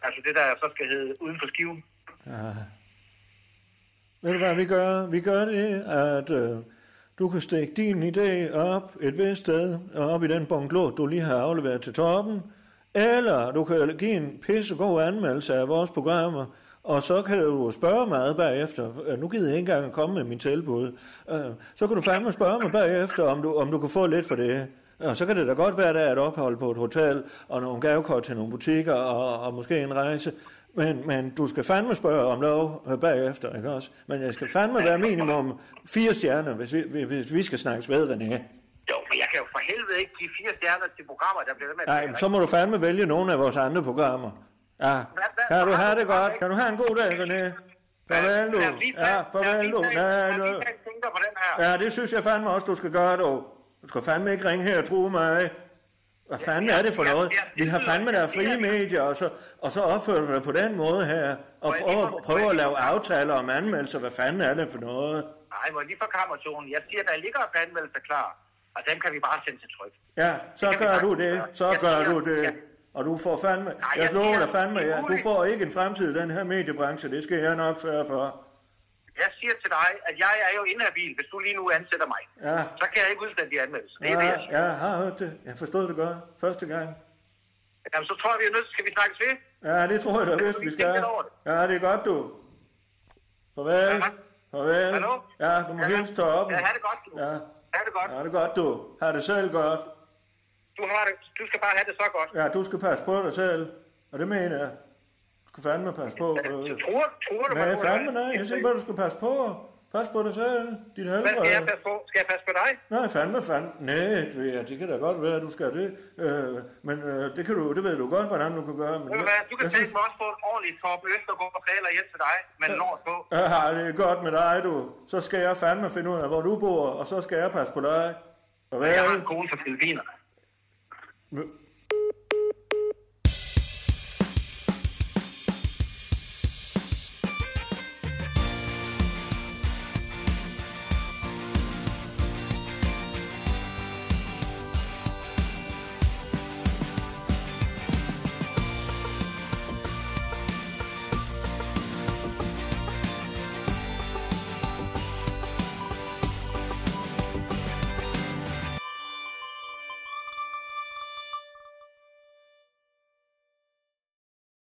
Speaker 9: Altså det, der så skal hedde Uden for Skiven.
Speaker 5: ja. Øh. Ved du hvad vi gør? Vi gør det, at øh, du kan stikke din idé op et vist sted, og op i den bunglå, du lige har afleveret til toppen, eller du kan give en pissegod anmeldelse af vores programmer, og så kan du spørge mig bagefter. Øh, Nu gider jeg ikke engang at komme med min tilbud. Øh, Så kan du fandme spørge mig bagefter, om du, om du kan få lidt for det. Og så kan det da godt være, at der er et ophold på et hotel, og nogle gavekort til nogle butikker, og, og måske en rejse. Men, men du skal fandme spørge om lov øh, bagefter, ikke også? Men jeg skal fandme være minimum fire stjerner, hvis vi, hvis vi skal snakkes ved, René.
Speaker 9: Jo, men jeg kan jo for helvede ikke give fire stjerner til programmer, der bliver ved med at...
Speaker 5: Nej, men så må du fandme vælge nogle af vores andre programmer. Ja, kan du have det godt? Kan du have en god dag, René? Farvel du. Ja, farvel du. Nej, du. Ja, det synes jeg fandme også, du skal gøre, du. Du skal fandme ikke ringe her og true mig. Hvad fanden er det for noget? Vi har fandme der frie medier, og så, og så opfører du dig på den måde her, og prøver, prøver at lave aftaler om anmeldelser. Hvad fanden er det for noget?
Speaker 9: Nej, må jeg lige få kammertonen. Jeg siger, der ligger en anmeldelse klar.
Speaker 12: og dem kan vi bare sende til tryk.
Speaker 5: Ja, så
Speaker 12: Det kan vi
Speaker 5: gør du
Speaker 12: sagtens
Speaker 5: det,
Speaker 12: gøre.
Speaker 5: så
Speaker 12: Jeg
Speaker 5: gør
Speaker 12: siger-
Speaker 5: du det. Og du får fandme, jeg
Speaker 12: jeg
Speaker 5: lover
Speaker 12: siger,
Speaker 5: dig fandme,
Speaker 12: det er
Speaker 5: ja, du
Speaker 12: muligt.
Speaker 5: får ikke en fremtid i den her mediebranche, det skal jeg nok sørge for.
Speaker 12: Jeg siger til dig, at jeg er jo inhabil, hvis du lige nu ansætter mig.
Speaker 5: Ja.
Speaker 12: Så kan jeg ikke udstande de anmeldelser. Det er
Speaker 5: Ja,
Speaker 12: det, jeg siger.
Speaker 5: ja, jeg har hørt det. Jeg forstod det godt. Første gang.
Speaker 12: Jamen, så tror jeg, vi er nødt til, skal vi snakkes ved?
Speaker 5: Ja, det tror jeg da, hvis vi skal. Ja, det er godt, du. Farvel. Farvel.
Speaker 12: Hallo?
Speaker 5: Ja, du må hilse til op.
Speaker 12: Ja, ha' det godt,
Speaker 5: Ja,
Speaker 12: Ha' det godt.
Speaker 5: ja, det er godt, du. Har det selv godt.
Speaker 12: Du, har det. du skal bare have det så godt.
Speaker 5: Ja, du skal passe på dig selv. Og det mener jeg. Du skal fandme passe på. For...
Speaker 12: Tror, tror du,
Speaker 5: Nej,
Speaker 12: mig,
Speaker 5: fandme nej. Jeg siger bare, du skal passe på. Pas på dig selv. Dit helbred.
Speaker 12: Hvad skal jeg passe på? Skal jeg passe på dig?
Speaker 5: Nej, fandme, fandme. Nej, det, ved jeg. det kan da godt være, at du skal det. Øh, men øh, det, kan du, det ved du godt, hvordan du kan gøre. Men
Speaker 12: Ved du
Speaker 5: jeg,
Speaker 12: hvad, du kan
Speaker 5: jeg
Speaker 12: tænke mig også få en ordentlig Torben Østergaard og klæder hjem til dig, men lort på.
Speaker 5: Ja, det er godt med dig, du. Så skal jeg fandme finde ud af, hvor du bor, og så skal jeg passe på dig. Farvel.
Speaker 12: Jeg har en kone fra Filippinerne.
Speaker 5: Hva-